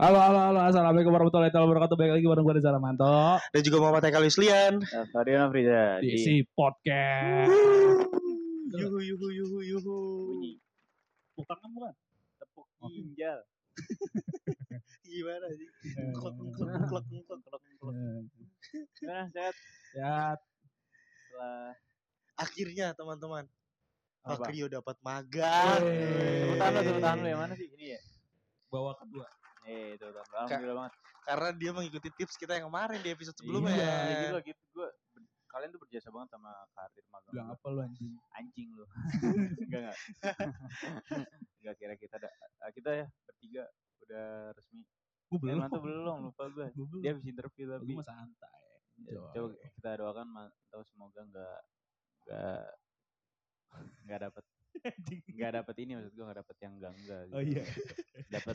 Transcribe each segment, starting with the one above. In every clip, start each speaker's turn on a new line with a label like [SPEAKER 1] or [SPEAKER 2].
[SPEAKER 1] Halo, halo, halo. Assalamualaikum warahmatullahi wabarakatuh. Baik lagi bareng gue Reza Ramanto
[SPEAKER 2] Dan juga Muhammad Haikal Islian.
[SPEAKER 3] Fariana Eh, Frida
[SPEAKER 1] di si podcast.
[SPEAKER 2] Yuhu yuhu yuhu yuhu.
[SPEAKER 3] bunyi
[SPEAKER 1] Bukan kan bukan?
[SPEAKER 3] tepuk ginjal.
[SPEAKER 2] Gimana sih?
[SPEAKER 1] Hmm. Iya.
[SPEAKER 2] Klek klek klek klek klek. klek.
[SPEAKER 3] Nah, sehat
[SPEAKER 1] Ya,
[SPEAKER 3] setelah
[SPEAKER 2] Akhirnya teman-teman, Pak
[SPEAKER 3] apa?
[SPEAKER 2] Krio dapat magang.
[SPEAKER 1] Yeay.
[SPEAKER 3] Tepuk tangan, tepuk tangan lu yang mana sih? Ini ya.
[SPEAKER 1] bawa kedua.
[SPEAKER 3] Eh, tepuk tangan. Alhamdulillah banget.
[SPEAKER 2] Karena dia mengikuti tips kita yang kemarin di episode
[SPEAKER 1] Iya.
[SPEAKER 2] sebelumnya.
[SPEAKER 3] Ya gitu lah gitu gua ber- kalian tuh berjasa banget sama karir magang.
[SPEAKER 1] Bilang
[SPEAKER 3] gua.
[SPEAKER 1] apa lu anjing?
[SPEAKER 3] Anjing lu. Enggak enggak. Enggak kira kita ada eh, kita ya bertiga udah resmi.
[SPEAKER 1] Gue
[SPEAKER 3] Eh,
[SPEAKER 1] belum.
[SPEAKER 3] mana tuh belum lupa gua.
[SPEAKER 1] Gue belum.
[SPEAKER 3] Dia habis interview
[SPEAKER 1] Gue
[SPEAKER 3] tapi
[SPEAKER 1] masih santai.
[SPEAKER 3] Ya, coba kita doakan ma- atau semoga nggak nggak nggak dapat nggak dapat ini maksud gue nggak dapat yang enggak enggak
[SPEAKER 1] Oh iya.
[SPEAKER 3] dapat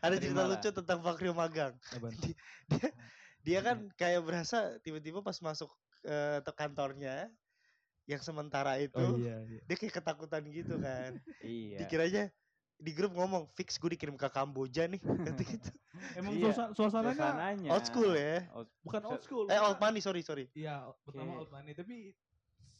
[SPEAKER 2] Ada cerita
[SPEAKER 3] Terimalah.
[SPEAKER 2] lucu tentang Pak Krio magang.
[SPEAKER 1] Apaan?
[SPEAKER 2] Dia kan kayak berasa tiba-tiba pas masuk eh, ke kantornya yang sementara itu
[SPEAKER 1] Oh iya. iya.
[SPEAKER 2] dia kayak ketakutan gitu kan.
[SPEAKER 3] iya
[SPEAKER 2] Dikiranya di grup ngomong fix gue dikirim ke Kamboja nih kata gitu.
[SPEAKER 1] Emang
[SPEAKER 3] Iya.
[SPEAKER 1] suasa- suasananya
[SPEAKER 3] Suasananya-
[SPEAKER 2] Old school ya.
[SPEAKER 3] Old-
[SPEAKER 1] bukan old school.
[SPEAKER 2] Eh old money sorry sorry.
[SPEAKER 1] Iya, pertama
[SPEAKER 3] Oke.
[SPEAKER 1] old money tapi s-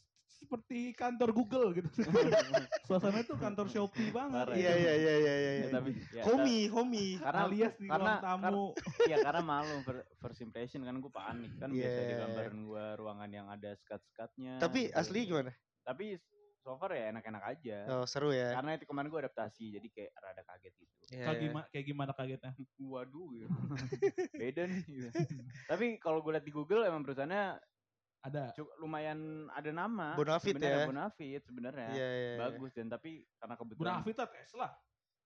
[SPEAKER 1] seperti kantor Google gitu. Suasananya tuh kantor Shopee banget. gitu.
[SPEAKER 3] Parah
[SPEAKER 2] Iya iya iya iya iya.
[SPEAKER 3] Ya,
[SPEAKER 2] iya.
[SPEAKER 3] tapi ya,
[SPEAKER 2] Homi homi.
[SPEAKER 3] karena
[SPEAKER 1] alias di
[SPEAKER 3] karena-
[SPEAKER 1] ruang tamu.
[SPEAKER 3] ya karena malu fir- first impression kan gue panik kan biasa di
[SPEAKER 2] Iya.
[SPEAKER 3] gambaran gue ruangan yang ada skat-skatnya
[SPEAKER 2] Tapi
[SPEAKER 3] gitu.
[SPEAKER 2] asli gimana?
[SPEAKER 3] tapi so far ya enak-enak aja
[SPEAKER 2] Oh, seru ya.
[SPEAKER 3] karena itu kemarin gue adaptasi jadi kayak rada kaget gitu
[SPEAKER 1] Kayak gimana, kayak gimana kagetnya?
[SPEAKER 3] waduh gitu. beda nih gitu. tapi kalau gue lihat di Google emang perusahaannya
[SPEAKER 1] Ada.
[SPEAKER 3] cu- lumayan ada nama
[SPEAKER 2] Bonafit
[SPEAKER 3] sebenarnya
[SPEAKER 2] ya.
[SPEAKER 3] Bonafit sebenarnya
[SPEAKER 2] Iya, iya, iya.
[SPEAKER 3] bagus dan tapi karena kebetulan
[SPEAKER 1] Bonafit lah Tesla.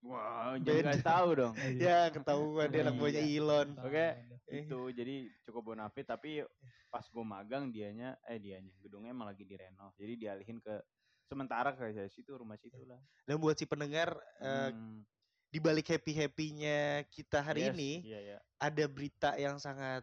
[SPEAKER 3] wah
[SPEAKER 2] Beda.
[SPEAKER 3] jangan kasih tahu dong
[SPEAKER 2] Ya, ketahuan dia anak
[SPEAKER 3] Iya.
[SPEAKER 2] buahnya Elon.
[SPEAKER 3] Oke.
[SPEAKER 2] Eh.
[SPEAKER 3] itu jadi cukup Bonafit tapi pas gue magang dianya eh dianya gedungnya emang lagi direnov jadi dialihin ke sementara ke situ rumah situ lah
[SPEAKER 2] Dan buat si pendengar eh,
[SPEAKER 3] Hmm,
[SPEAKER 2] di balik happy-happynya kita hari
[SPEAKER 3] yes,
[SPEAKER 2] ini
[SPEAKER 3] iya, iya.
[SPEAKER 2] ada berita yang sangat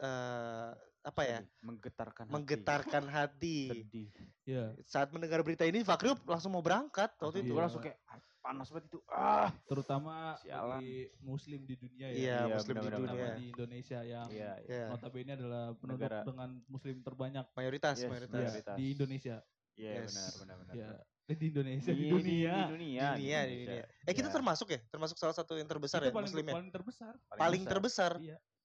[SPEAKER 2] eh apa ya?
[SPEAKER 3] Sedih, menggetarkan hati.
[SPEAKER 2] menggetarkan hati.
[SPEAKER 3] sedih
[SPEAKER 1] Iya.
[SPEAKER 2] Saat mendengar berita ini Fakrio langsung mau berangkat waktu itu.
[SPEAKER 3] gue
[SPEAKER 1] Iya.
[SPEAKER 3] langsung kayak "Ah, panas banget itu ah
[SPEAKER 1] Terutama
[SPEAKER 3] Sialan.
[SPEAKER 1] bagi muslim di dunia ya.
[SPEAKER 2] Iya,
[SPEAKER 3] Iya,
[SPEAKER 2] muslim di
[SPEAKER 3] benar-benar.
[SPEAKER 2] dunia.
[SPEAKER 1] Terutama di Indonesia yang
[SPEAKER 3] iya iya.
[SPEAKER 2] Ya,
[SPEAKER 1] notabene adalah penduduk
[SPEAKER 3] Negara.
[SPEAKER 1] dengan muslim terbanyak
[SPEAKER 2] mayoritas,
[SPEAKER 3] Yes,
[SPEAKER 1] ya,
[SPEAKER 2] mayoritas.
[SPEAKER 3] yes. Mayoritas.
[SPEAKER 1] di Indonesia.
[SPEAKER 3] Iya
[SPEAKER 2] Yes.
[SPEAKER 3] benar benar benar.
[SPEAKER 1] Ya. Eh, Di Indonesia, di,
[SPEAKER 3] Di-
[SPEAKER 1] dunia.
[SPEAKER 3] Iya, Di dunia. di
[SPEAKER 2] Dunia, di
[SPEAKER 3] Indonesia.
[SPEAKER 2] dunia. Eh, kita
[SPEAKER 3] Ya,
[SPEAKER 2] termasuk ya? Termasuk salah satu yang terbesar
[SPEAKER 1] Itu
[SPEAKER 2] ya
[SPEAKER 1] paling,
[SPEAKER 2] muslim ya?
[SPEAKER 1] paling terbesar.
[SPEAKER 2] Paling
[SPEAKER 3] besar. Iya.
[SPEAKER 2] terbesar.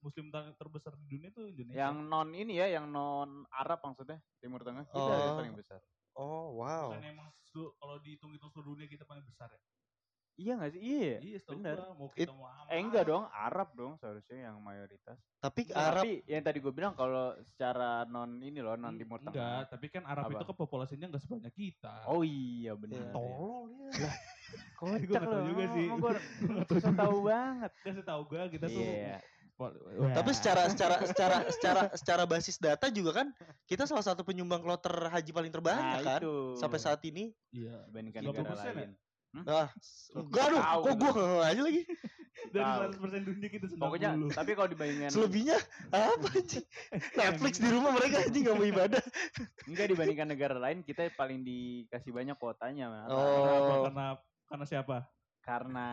[SPEAKER 1] Muslim ter- terbesar di dunia tuh Indonesia.
[SPEAKER 3] Yang non ini ya, yang non Arab maksudnya Timur Tengah kita
[SPEAKER 2] Oh.
[SPEAKER 3] yang paling besar.
[SPEAKER 2] Oh, wow.
[SPEAKER 1] Bukan emang seluruh- kalau dihitung-hitung seluruh dunia kita paling besar ya.
[SPEAKER 3] Iya nggak sih? Iya.
[SPEAKER 1] Iya, setahu
[SPEAKER 3] benar.
[SPEAKER 1] gua, mau kita mau aman.
[SPEAKER 3] Eh enggak dong, Arab dong seharusnya yang mayoritas.
[SPEAKER 2] Tapi
[SPEAKER 3] Ya,
[SPEAKER 2] Arab
[SPEAKER 3] Tapi yang tadi gue bilang kalau secara non ini loh non Timur
[SPEAKER 1] Enggak,
[SPEAKER 3] Tengah.
[SPEAKER 1] tapi kan Arab
[SPEAKER 3] Apa?
[SPEAKER 1] itu kan populasinya enggak sebanyak kita.
[SPEAKER 3] Oh iya
[SPEAKER 2] Oh,
[SPEAKER 3] benar. Ya.
[SPEAKER 1] tolol ya.
[SPEAKER 3] Kocak
[SPEAKER 1] Gue nggak tahu
[SPEAKER 3] loh,
[SPEAKER 1] juga sih.
[SPEAKER 3] emang Gue
[SPEAKER 1] Nggak tahu
[SPEAKER 3] so
[SPEAKER 1] juga.
[SPEAKER 3] tahu banget.
[SPEAKER 1] Kan setahu gua kita tuh
[SPEAKER 3] Iya.
[SPEAKER 1] pol-
[SPEAKER 2] Tapi
[SPEAKER 1] Wah.
[SPEAKER 2] secara secara secara secara secara basis data juga kan kita salah satu penyumbang kloter haji paling terbanyak
[SPEAKER 3] Nah,
[SPEAKER 2] kan
[SPEAKER 3] itu.
[SPEAKER 2] sampai saat ini.
[SPEAKER 1] iya.
[SPEAKER 3] dibandingkan
[SPEAKER 1] 20%
[SPEAKER 3] negara
[SPEAKER 1] ya?
[SPEAKER 3] lain.
[SPEAKER 2] Nah, enggak dong,
[SPEAKER 3] Tahu.
[SPEAKER 2] kok gua nggak aja lagi.
[SPEAKER 1] Dari
[SPEAKER 3] Tahu.
[SPEAKER 1] 100% dunia kita 90.
[SPEAKER 3] Pokoknya tapi kalau
[SPEAKER 2] Iya.
[SPEAKER 3] dibandingkan
[SPEAKER 2] Selebihnya apa anjing? Netflix di rumah mereka anjing nggak mau ibadah.
[SPEAKER 3] enggak dibandingkan negara lain kita paling dikasih banyak kuotanya. Man.
[SPEAKER 1] Kenapa?
[SPEAKER 2] Oh.
[SPEAKER 1] Karena karena siapa?
[SPEAKER 3] karena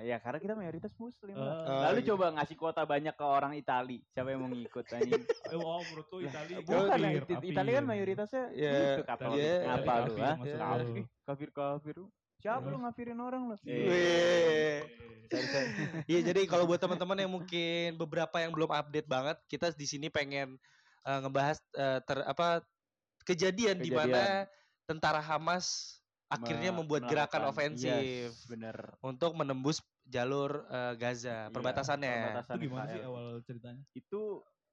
[SPEAKER 3] ya karena kita mayoritas muslim
[SPEAKER 1] Eh,
[SPEAKER 3] lah.
[SPEAKER 2] Ah,
[SPEAKER 3] lalu
[SPEAKER 2] iya.
[SPEAKER 3] coba ngasih kuota banyak ke orang Itali siapa yang mau ngikut anjing
[SPEAKER 1] eh, oh, menurutku Italia.
[SPEAKER 3] bukan
[SPEAKER 1] kafir,
[SPEAKER 3] lah, It-
[SPEAKER 1] kafir.
[SPEAKER 3] Itali kan mayoritasnya
[SPEAKER 2] Iya,
[SPEAKER 3] gitu kapal
[SPEAKER 2] iya,
[SPEAKER 3] apa
[SPEAKER 1] Itali
[SPEAKER 3] lu
[SPEAKER 1] kafir
[SPEAKER 3] ah?
[SPEAKER 1] maksud
[SPEAKER 3] kafir
[SPEAKER 1] lu.
[SPEAKER 3] ih, kafir kafir lu.
[SPEAKER 1] Iya.
[SPEAKER 3] siapa lu ngafirin orang lu Iya.
[SPEAKER 2] Weh.
[SPEAKER 3] Sorry, sorry.
[SPEAKER 2] Iya, jadi kalau buat teman-teman yang mungkin beberapa yang belum update banget, kita di sini pengen eh, ngebahas eh, ter apa kejadian, di mana tentara Hamas akhirnya
[SPEAKER 3] Me-
[SPEAKER 2] membuat gerakan
[SPEAKER 3] melakukan-
[SPEAKER 2] ofensif.
[SPEAKER 3] yes, bener
[SPEAKER 2] untuk menembus jalur eh, Gaza
[SPEAKER 3] Iya,
[SPEAKER 2] perbatasannya.
[SPEAKER 3] perbatasan
[SPEAKER 1] Itu gimana sih
[SPEAKER 3] Israel.
[SPEAKER 1] awal ceritanya?
[SPEAKER 3] itu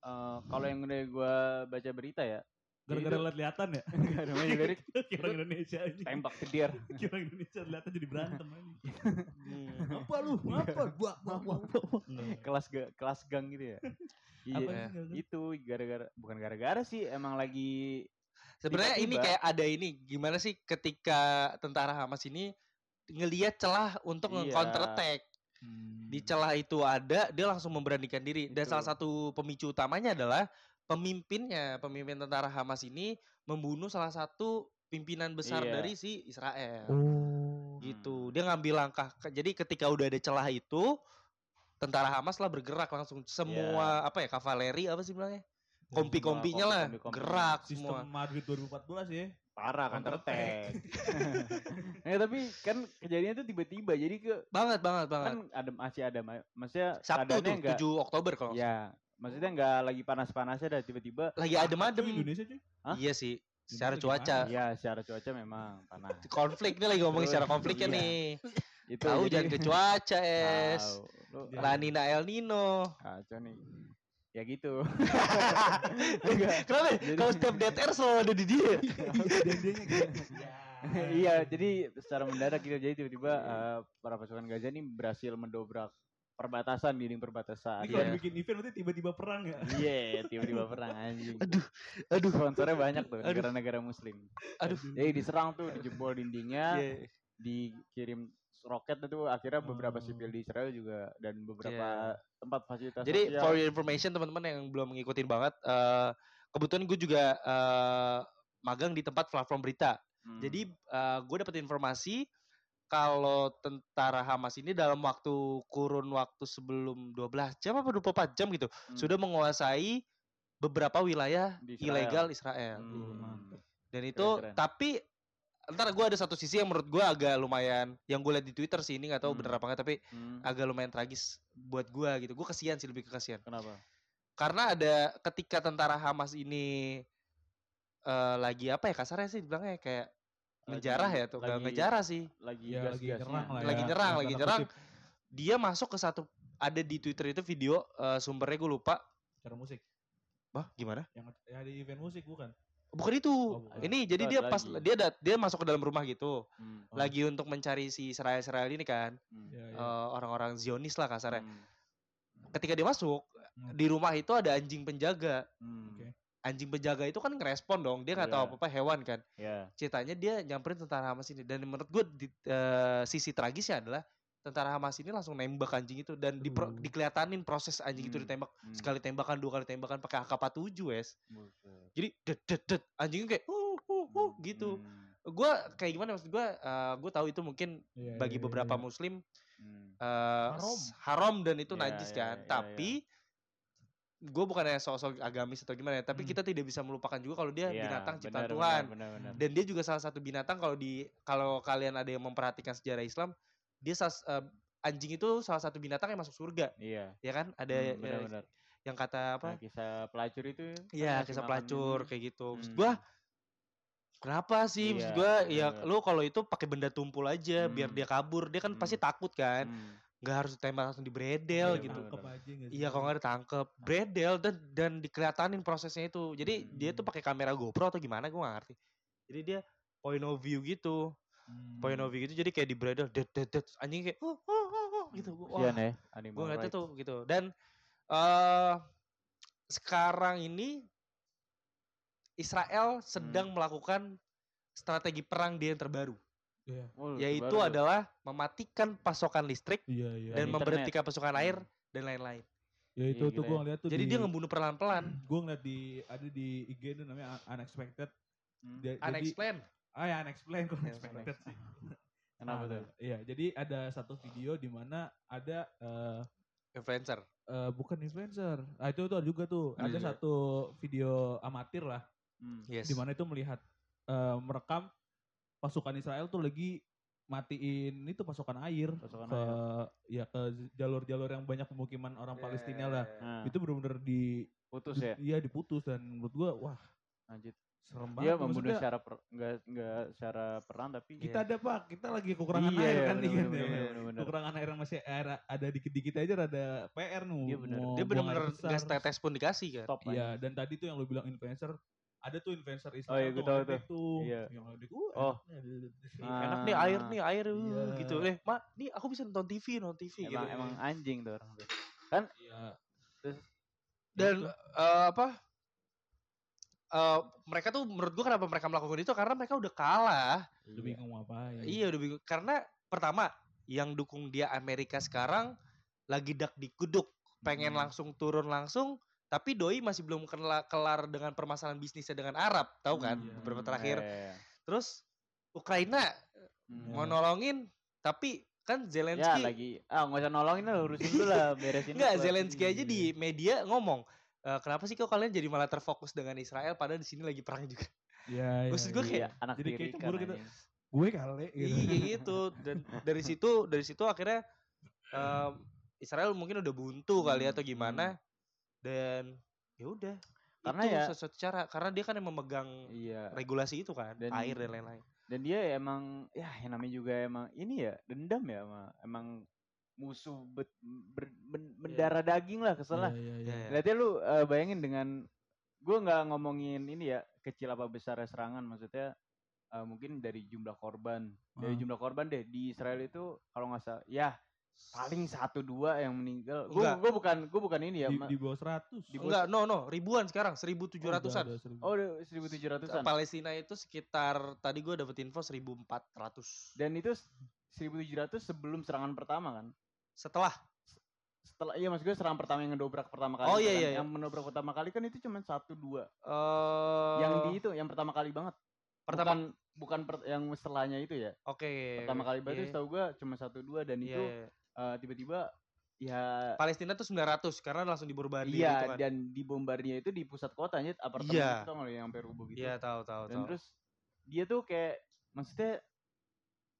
[SPEAKER 3] eh, kalau yang udah gua baca berita ya
[SPEAKER 1] Gara-gara lihat-lihatan ya?
[SPEAKER 3] Nggak, namanya lirik
[SPEAKER 1] Kira Indonesia aja.
[SPEAKER 3] tembak kedir
[SPEAKER 1] Kira Indonesia lihat jadi berantem aja.
[SPEAKER 2] Hmm.
[SPEAKER 1] Apa lu? Apa? Wah, wah, wah, wah.
[SPEAKER 3] kelas ga- kelas gang gitu ya
[SPEAKER 1] Apa
[SPEAKER 3] iya
[SPEAKER 1] sih gara-gara?
[SPEAKER 3] itu gara-gara bukan gara-gara sih emang lagi
[SPEAKER 2] Sebenarnya ini
[SPEAKER 3] Tiba-tiba-
[SPEAKER 2] kayak ada ini gimana sih ketika tentara Hamas ini ngelihat celah untuk
[SPEAKER 3] Iya. Hmm.
[SPEAKER 2] nge-counter attack.
[SPEAKER 1] Hmm.
[SPEAKER 2] Di celah itu ada, dia langsung memberanikan diri. Dan
[SPEAKER 3] Itu.
[SPEAKER 2] salah satu pemicu utamanya adalah pemimpinnya, pemimpin tentara Hamas ini membunuh salah satu pimpinan besar
[SPEAKER 3] Iya.
[SPEAKER 2] dari si Israel.
[SPEAKER 1] Oh.
[SPEAKER 3] Hmm.
[SPEAKER 2] Gitu. Dia ngambil langkah. Jadi ketika udah ada celah itu, tentara Hamas lah bergerak langsung
[SPEAKER 3] Iya.
[SPEAKER 2] semua apa ya kavaleri apa sih bilangnya kompi-kompinya
[SPEAKER 3] kompi-
[SPEAKER 2] lah
[SPEAKER 3] kompi-kompi.
[SPEAKER 2] gerak
[SPEAKER 1] Sistem
[SPEAKER 2] semua
[SPEAKER 1] Madrid 2014 ya.
[SPEAKER 3] Parah kan
[SPEAKER 1] Counter attack.
[SPEAKER 3] tertek. nah, tapi kan kejadiannya tuh tiba-tiba. Jadi ke
[SPEAKER 2] banget banget banget
[SPEAKER 3] kan ada masih ada ma- maksudnya
[SPEAKER 2] Sabtu
[SPEAKER 3] Kan
[SPEAKER 2] tuh
[SPEAKER 3] keadaannya nggak-
[SPEAKER 2] 7 Oktober kalau nggak salah.
[SPEAKER 3] Ya, maksudnya nggak lagi panas-panasnya dah tiba-tiba.
[SPEAKER 2] lagi adem-adem
[SPEAKER 1] Cuy, Indonesia cuy.
[SPEAKER 3] Hah?
[SPEAKER 2] iya sih secara
[SPEAKER 1] Gimana?
[SPEAKER 2] cuaca
[SPEAKER 3] Iya, secara cuaca memang panas.
[SPEAKER 2] konflik nih lagi ngomongin
[SPEAKER 3] Terus,
[SPEAKER 2] secara konfliknya
[SPEAKER 3] iya.
[SPEAKER 2] nih
[SPEAKER 3] Itu
[SPEAKER 2] tahu
[SPEAKER 3] jadi-
[SPEAKER 2] jangan ke cuaca es
[SPEAKER 3] Tahu. Lu ah,
[SPEAKER 1] Iya.
[SPEAKER 2] La Nina El Nino
[SPEAKER 3] kacau nih. Ya gitu. Enggak.
[SPEAKER 2] Kenapa?
[SPEAKER 3] Jadi-
[SPEAKER 2] Kalau setiap dead air selalu ada di dia.
[SPEAKER 1] Dendengnya gitu.
[SPEAKER 3] iya, jadi secara mendadak gitu. Jadi tiba-tiba
[SPEAKER 2] Iya.
[SPEAKER 3] eh, para pasukan Gaza ini berhasil mendobrak perbatasan, dinding perbatasan.
[SPEAKER 1] Ini kalau
[SPEAKER 2] Iya.
[SPEAKER 1] dibikin event nanti tiba-tiba perang ya.
[SPEAKER 3] Iya, tiba-tiba perang anjing.
[SPEAKER 2] Aduh, aduh,
[SPEAKER 3] Sponsornya banyak tuh,
[SPEAKER 2] Aduh.
[SPEAKER 3] negara-negara muslim.
[SPEAKER 2] aduh.
[SPEAKER 3] Jadi diserang tuh, dijebol dindingnya,
[SPEAKER 2] Iya.
[SPEAKER 3] dikirim roket itu akhirnya
[SPEAKER 1] Oh.
[SPEAKER 3] beberapa sipil di Israel juga dan beberapa tempat fasilitas
[SPEAKER 2] Iya. Jadi
[SPEAKER 3] sosial.
[SPEAKER 2] for your information teman-teman yang belum ngikutin banget, eh kebetulan gue juga eh magang di tempat platform berita.
[SPEAKER 3] Hmm.
[SPEAKER 2] Jadi eh gue dapat informasi kalau tentara Hamas ini dalam waktu kurun waktu sebelum 12 jam apa 24 jam gitu
[SPEAKER 3] Hmm.
[SPEAKER 2] sudah menguasai beberapa wilayah
[SPEAKER 3] Di Israel.
[SPEAKER 2] ilegal ya? Israel.
[SPEAKER 3] Hmm.
[SPEAKER 1] mantap.
[SPEAKER 2] Dan itu
[SPEAKER 3] keren.
[SPEAKER 2] tapi ntar gue ada satu sisi yang menurut gue agak lumayan yang gue lihat di Twitter sih ini nggak tahu
[SPEAKER 3] Hmm.
[SPEAKER 2] bener apa nggak tapi
[SPEAKER 3] Hmm.
[SPEAKER 2] agak lumayan tragis buat gue gitu. Gue kesian sih lebih ke kesian.
[SPEAKER 3] Kenapa?
[SPEAKER 2] Karena ada ketika tentara Hamas ini eh lagi apa ya kasarnya sih bilangnya kayak menjarah ya tuh nggak
[SPEAKER 3] lagi-
[SPEAKER 2] ngejarah sih
[SPEAKER 3] Lagi
[SPEAKER 1] Iya, lagi
[SPEAKER 3] gas-gasnya.
[SPEAKER 1] nyerang lah ya.
[SPEAKER 2] lagi nyerang
[SPEAKER 1] Dalam
[SPEAKER 2] lagi
[SPEAKER 1] tanda
[SPEAKER 2] nyerang
[SPEAKER 1] kutip,
[SPEAKER 2] dia masuk ke satu ada di Twitter itu video eh, sumbernya gue lupa
[SPEAKER 1] Cara musik.
[SPEAKER 2] bah gimana
[SPEAKER 1] Yang ya, di event musik bukan?
[SPEAKER 2] Hmm. bukan itu
[SPEAKER 1] Oh, bukan.
[SPEAKER 2] ini jadi
[SPEAKER 3] Itu
[SPEAKER 2] dia
[SPEAKER 3] ada
[SPEAKER 2] pas
[SPEAKER 3] lagi.
[SPEAKER 2] dia dat- dia masuk ke dalam rumah gitu
[SPEAKER 3] Hmm,
[SPEAKER 1] Oh.
[SPEAKER 2] lagi untuk mencari si Israel Israel ini kan
[SPEAKER 3] hmm,
[SPEAKER 1] Iya,
[SPEAKER 2] eh,
[SPEAKER 1] iya.
[SPEAKER 2] orang-orang Zionis lah kasarnya
[SPEAKER 3] hmm,
[SPEAKER 2] ketika dia masuk
[SPEAKER 1] Hmm.
[SPEAKER 2] di rumah itu ada anjing penjaga
[SPEAKER 3] hmm.
[SPEAKER 1] Oke.
[SPEAKER 2] anjing penjaga itu kan ngerespon dong dia nggak tahu
[SPEAKER 3] Iya.
[SPEAKER 2] apa apa hewan kan
[SPEAKER 3] Ya.
[SPEAKER 2] ceritanya dia nyamperin tentara Hamas ini dan menurut gue di, eh, sisi tragisnya adalah tentara Hamas ini langsung nembak anjing itu dan dipro,
[SPEAKER 1] Aduh.
[SPEAKER 2] dikeliatanin proses anjing itu
[SPEAKER 3] Hmm.
[SPEAKER 2] ditembak
[SPEAKER 3] hmm.
[SPEAKER 2] sekali tembakan dua kali tembakan pakai AK-47 wes
[SPEAKER 3] Buset.
[SPEAKER 2] jadi det det det anjingnya kayak uh uh uh
[SPEAKER 3] Hmm,
[SPEAKER 2] gitu
[SPEAKER 3] hmm,
[SPEAKER 2] gue kayak gimana maksud gue gue tahu itu mungkin
[SPEAKER 1] Iya, iya,
[SPEAKER 2] bagi
[SPEAKER 1] iya,
[SPEAKER 2] beberapa
[SPEAKER 1] iya.
[SPEAKER 2] muslim
[SPEAKER 3] hmm.
[SPEAKER 2] eh,
[SPEAKER 1] Haram.
[SPEAKER 2] s- haram dan itu
[SPEAKER 3] Iya,
[SPEAKER 2] najis
[SPEAKER 3] iya,
[SPEAKER 2] kan
[SPEAKER 3] iya, iya.
[SPEAKER 2] tapi
[SPEAKER 3] ya.
[SPEAKER 2] gue bukannya sok-sok agamis atau gimana ya tapi
[SPEAKER 1] Hmm.
[SPEAKER 2] kita tidak bisa melupakan juga kalau dia Ya,
[SPEAKER 3] Iya,
[SPEAKER 2] binatang ciptaan
[SPEAKER 3] benar,
[SPEAKER 2] Tuhan
[SPEAKER 3] benar, benar, benar.
[SPEAKER 2] dan dia juga salah satu binatang kalau di kalau kalian ada yang memperhatikan sejarah Islam dia sas- eh, anjing itu salah satu binatang yang masuk surga
[SPEAKER 3] Iya.
[SPEAKER 2] ya kan ada
[SPEAKER 3] hmm,
[SPEAKER 2] eh,
[SPEAKER 3] benar-benar.
[SPEAKER 2] yang kata
[SPEAKER 3] Nah,
[SPEAKER 2] apa
[SPEAKER 3] kisah pelacur itu. kan
[SPEAKER 2] ya
[SPEAKER 3] ngasih
[SPEAKER 2] kisah
[SPEAKER 3] makan
[SPEAKER 2] pelacur
[SPEAKER 3] ini.
[SPEAKER 2] kayak gitu maksud
[SPEAKER 3] Hmm.
[SPEAKER 2] gua kenapa sih maksud
[SPEAKER 3] Iya,
[SPEAKER 2] gua ya lu
[SPEAKER 3] benar-benar.
[SPEAKER 2] kalau itu pakai benda tumpul aja biar
[SPEAKER 3] Hmm.
[SPEAKER 2] dia kabur dia kan pasti
[SPEAKER 3] Hmm.
[SPEAKER 2] takut kan
[SPEAKER 3] Hmm,
[SPEAKER 2] nggak harus ditembak langsung dibredel
[SPEAKER 1] Iya,
[SPEAKER 2] gitu
[SPEAKER 1] tangkep aja nggak sih?
[SPEAKER 2] Iya kalau nggak ditangkep Bredel dan dan dikelihatanin prosesnya itu Jadi dia tuh
[SPEAKER 1] Hmm.
[SPEAKER 2] pakai kamera GoPro atau gimana gue nggak ngerti Jadi dia point of view gitu
[SPEAKER 1] Hmm.
[SPEAKER 2] Point of view gitu jadi kayak di bredel det, det, det, Anjing kayak oh, oh, oh, oh,
[SPEAKER 1] Hmm.
[SPEAKER 2] gitu Gua- Wah
[SPEAKER 1] Iya,
[SPEAKER 3] Kasihan ya, animal
[SPEAKER 2] gue ngeliatnya
[SPEAKER 3] rights.
[SPEAKER 2] tuh gitu Dan eh sekarang ini Israel
[SPEAKER 1] Hmm.
[SPEAKER 2] sedang melakukan strategi perang dia yang terbaru
[SPEAKER 1] Iya.
[SPEAKER 3] Oh,
[SPEAKER 2] Yaitu
[SPEAKER 3] baru tuh.
[SPEAKER 2] adalah mematikan pasokan listrik
[SPEAKER 1] Iya, iya.
[SPEAKER 2] Dan
[SPEAKER 3] internet.
[SPEAKER 2] memberhentikan pasokan air
[SPEAKER 3] Hmm.
[SPEAKER 2] dan lain-lain
[SPEAKER 1] Ya itu
[SPEAKER 3] Iya,
[SPEAKER 1] tuh
[SPEAKER 3] gila
[SPEAKER 1] gue
[SPEAKER 3] ya.
[SPEAKER 1] ngeliat tuh
[SPEAKER 2] Jadi
[SPEAKER 1] di,
[SPEAKER 2] dia ngebunuh perlahan-pelan
[SPEAKER 1] Gue ngeliat di ada di IG itu namanya Un- Unexpected.
[SPEAKER 3] Hmm,
[SPEAKER 1] Dia- jadi,
[SPEAKER 2] unexplained.
[SPEAKER 1] ah ya Unexplained kok
[SPEAKER 2] Iya,
[SPEAKER 1] Unexpected sih.
[SPEAKER 3] Kenapa
[SPEAKER 1] Ah,
[SPEAKER 3] tuh?
[SPEAKER 1] Iya, jadi ada satu video di mana ada eh
[SPEAKER 2] Influencer.
[SPEAKER 1] eh, bukan influencer. Ah itu tuh juga tuh. Ada
[SPEAKER 2] Iya.
[SPEAKER 1] satu video amatir lah
[SPEAKER 3] Hmm.
[SPEAKER 2] Yes.
[SPEAKER 1] di mana itu melihat eh, merekam pasukan Israel tuh lagi matiin itu pasukan air
[SPEAKER 3] Pasukan
[SPEAKER 1] ke
[SPEAKER 3] air.
[SPEAKER 1] ya ke jalur-jalur yang banyak pemukiman orang Palestina lah.
[SPEAKER 3] Nah,
[SPEAKER 1] Itu benar-benar di
[SPEAKER 3] putus ya.
[SPEAKER 1] iya diputus dan menurut gua wah
[SPEAKER 3] Lanjut.
[SPEAKER 1] serem banget.
[SPEAKER 3] Dia
[SPEAKER 1] tuh.
[SPEAKER 3] membunuh
[SPEAKER 1] Maksudnya,
[SPEAKER 3] secara per, enggak enggak secara perang tapi
[SPEAKER 1] kita ada Pak, kita lagi kekurangan
[SPEAKER 3] Iya,
[SPEAKER 1] air
[SPEAKER 3] iya,
[SPEAKER 1] kan nih kan.
[SPEAKER 3] bener-bener,
[SPEAKER 1] ya.
[SPEAKER 3] bener-bener.
[SPEAKER 1] Kekurangan air yang masih air ada dikit-dikit aja ada PR nu.
[SPEAKER 3] Iya, bener.
[SPEAKER 1] mau
[SPEAKER 2] Dia
[SPEAKER 1] buang air
[SPEAKER 2] benar-benar
[SPEAKER 1] besar.
[SPEAKER 2] gas tetes pun dikasih kan.
[SPEAKER 3] Stop aja.
[SPEAKER 1] Iya, dan tadi tuh yang lu bilang influencer ada tuh influencer Israel
[SPEAKER 3] iya, gua
[SPEAKER 1] tuh
[SPEAKER 3] tahu
[SPEAKER 1] ngetik tuh.
[SPEAKER 3] Iya.
[SPEAKER 1] Yang ngetik, "Uh,
[SPEAKER 3] Oh.
[SPEAKER 1] enaknya."
[SPEAKER 3] Ah.
[SPEAKER 2] Enak nih air nih air uh,
[SPEAKER 1] Iya.
[SPEAKER 2] gitu. Eh, Mak, nih aku bisa nonton TV, nonton TV
[SPEAKER 3] Emang
[SPEAKER 2] gitu.
[SPEAKER 3] emang anjing tuh orang tuh.
[SPEAKER 1] Iya.
[SPEAKER 3] Terus
[SPEAKER 2] Dan eh, apa? Eh, mereka tuh menurut gua kenapa mereka melakukan itu karena mereka udah kalah.
[SPEAKER 1] lu bingung mau ngapain.
[SPEAKER 2] Iya, udah bingung. Karena pertama yang dukung dia Amerika sekarang lagi dak diguduk, pengen
[SPEAKER 3] Hmm.
[SPEAKER 2] langsung turun langsung tapi doi masih belum kela- kelar dengan permasalahan bisnisnya dengan Arab, tahu kan?
[SPEAKER 1] Iya.
[SPEAKER 2] Beberapa
[SPEAKER 1] Hmm,
[SPEAKER 2] terakhir.
[SPEAKER 3] Iya, iya, iya.
[SPEAKER 2] Terus Ukraina
[SPEAKER 3] Hmm.
[SPEAKER 2] mau nolongin tapi Kan
[SPEAKER 3] Ya
[SPEAKER 2] Zelensky
[SPEAKER 3] lagi ah nggak usah nolongin lah urusin dulu lah beresin.
[SPEAKER 2] Enggak,
[SPEAKER 3] dulu lah.
[SPEAKER 2] Zelensky aja di media ngomong "Eh, kenapa sih kok kalian jadi malah terfokus dengan Israel padahal di sini lagi perang juga.
[SPEAKER 1] Iya. iya,
[SPEAKER 2] Maksud gua
[SPEAKER 1] iya.
[SPEAKER 2] kayak-
[SPEAKER 3] Iya, anak
[SPEAKER 1] Jadi
[SPEAKER 3] Jadi
[SPEAKER 1] kayak cemburu gitu. gue kali gitu.
[SPEAKER 2] Iya kayak gitu. Dan dari situ dari situ akhirnya em, Israel mungkin udah buntu kali
[SPEAKER 3] Hmm,
[SPEAKER 2] atau gimana. Dan ya udah.
[SPEAKER 3] Karena
[SPEAKER 2] itu
[SPEAKER 3] ya-
[SPEAKER 2] satu cara karena dia kan yang memegang
[SPEAKER 3] Iya.
[SPEAKER 2] regulasi itu kan,
[SPEAKER 3] Dan-
[SPEAKER 2] air dan lain-lain.
[SPEAKER 3] Dan dia ya emang ya yang namanya juga emang ini ya dendam ya emang, emang musuh bet- ber- men- mendarah daging lah kesel lah.
[SPEAKER 1] Iya,
[SPEAKER 2] Ya,
[SPEAKER 1] iya, iya.
[SPEAKER 2] ya.
[SPEAKER 3] Lihatnya lu eh, bayangin dengan gue nggak ngomongin ini ya kecil apa besar serangan maksudnya eh, mungkin dari jumlah korban
[SPEAKER 1] Ah.
[SPEAKER 3] dari jumlah korban deh di Israel itu kalau nggak salah ya paling satu dua yang meninggal gue
[SPEAKER 2] Enggak.
[SPEAKER 3] gue bukan gue bukan ini ya
[SPEAKER 1] Di,
[SPEAKER 3] ma-
[SPEAKER 1] di bawah 100.
[SPEAKER 3] Di bawah
[SPEAKER 2] Enggak, no no, ribuan sekarang, 1700-an.
[SPEAKER 1] Oh,
[SPEAKER 3] oh seribu tujuh ratusan
[SPEAKER 2] Palestina itu sekitar tadi gue dapet info 1400.
[SPEAKER 3] dan itu 1700 sebelum serangan pertama kan
[SPEAKER 2] Setelah
[SPEAKER 3] setelah iya maksud gue serangan pertama yang ngedobrak pertama kali
[SPEAKER 2] Oh,
[SPEAKER 3] itu
[SPEAKER 2] iya,
[SPEAKER 3] kan.
[SPEAKER 2] iya, iya.
[SPEAKER 3] yang menobrak pertama kali kan itu cuma satu dua
[SPEAKER 2] eh
[SPEAKER 3] yang di itu yang pertama kali banget
[SPEAKER 2] pertama
[SPEAKER 3] bukan, bukan per- yang setelahnya itu ya
[SPEAKER 2] Oke.
[SPEAKER 3] pertama kali
[SPEAKER 2] iya,
[SPEAKER 3] banget itu setahu gue cuma satu dua dan
[SPEAKER 2] iya,
[SPEAKER 3] itu
[SPEAKER 2] iya.
[SPEAKER 3] eh, tiba-tiba ya
[SPEAKER 2] Palestina tuh 900 karena langsung dibombardir
[SPEAKER 3] iya
[SPEAKER 2] gitu kan.
[SPEAKER 3] dan dibombardirnya itu di pusat kotanya apartemen
[SPEAKER 2] Iya.
[SPEAKER 3] itu kalau yang sampai rubuh gitu
[SPEAKER 2] Iya, tahu tahu
[SPEAKER 3] dan
[SPEAKER 2] tahu.
[SPEAKER 3] terus dia tuh kayak maksudnya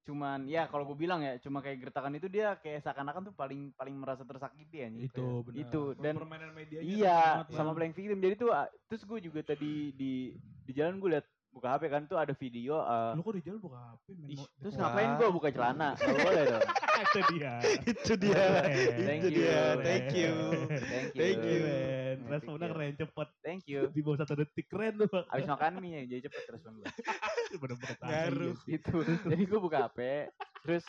[SPEAKER 3] cuman ya kalau gue bilang ya cuma kayak gertakan itu dia kayak seakan-akan tuh paling paling merasa tersakiti ya
[SPEAKER 1] itu benar. Oh,
[SPEAKER 3] itu, dan-
[SPEAKER 1] permainan media
[SPEAKER 3] iya sama playing victim jadi tuh ah, terus gue juga tadi di di jalan gue liat buka HP kan tuh ada video eh,
[SPEAKER 1] Lu kok di jalan buka HP main
[SPEAKER 2] Ih,
[SPEAKER 1] mo-
[SPEAKER 3] terus
[SPEAKER 1] Wah,
[SPEAKER 3] ngapain gue buka celana Gak boleh dong
[SPEAKER 1] itu dia.
[SPEAKER 2] itu dia.
[SPEAKER 3] Thank
[SPEAKER 2] Iya, itu
[SPEAKER 3] you.
[SPEAKER 2] dia. Thank you.
[SPEAKER 3] thank you
[SPEAKER 2] Thank you.
[SPEAKER 1] Keren.
[SPEAKER 3] Thank
[SPEAKER 1] Responnya
[SPEAKER 3] you.
[SPEAKER 1] keren cepet
[SPEAKER 3] thank you
[SPEAKER 1] di bawah satu detik keren lu Bang.
[SPEAKER 3] abis makan mie ya, jadi cepet respon gue
[SPEAKER 1] Bener-bener tai.
[SPEAKER 2] Ngaruh.
[SPEAKER 3] itu jadi gue buka HP terus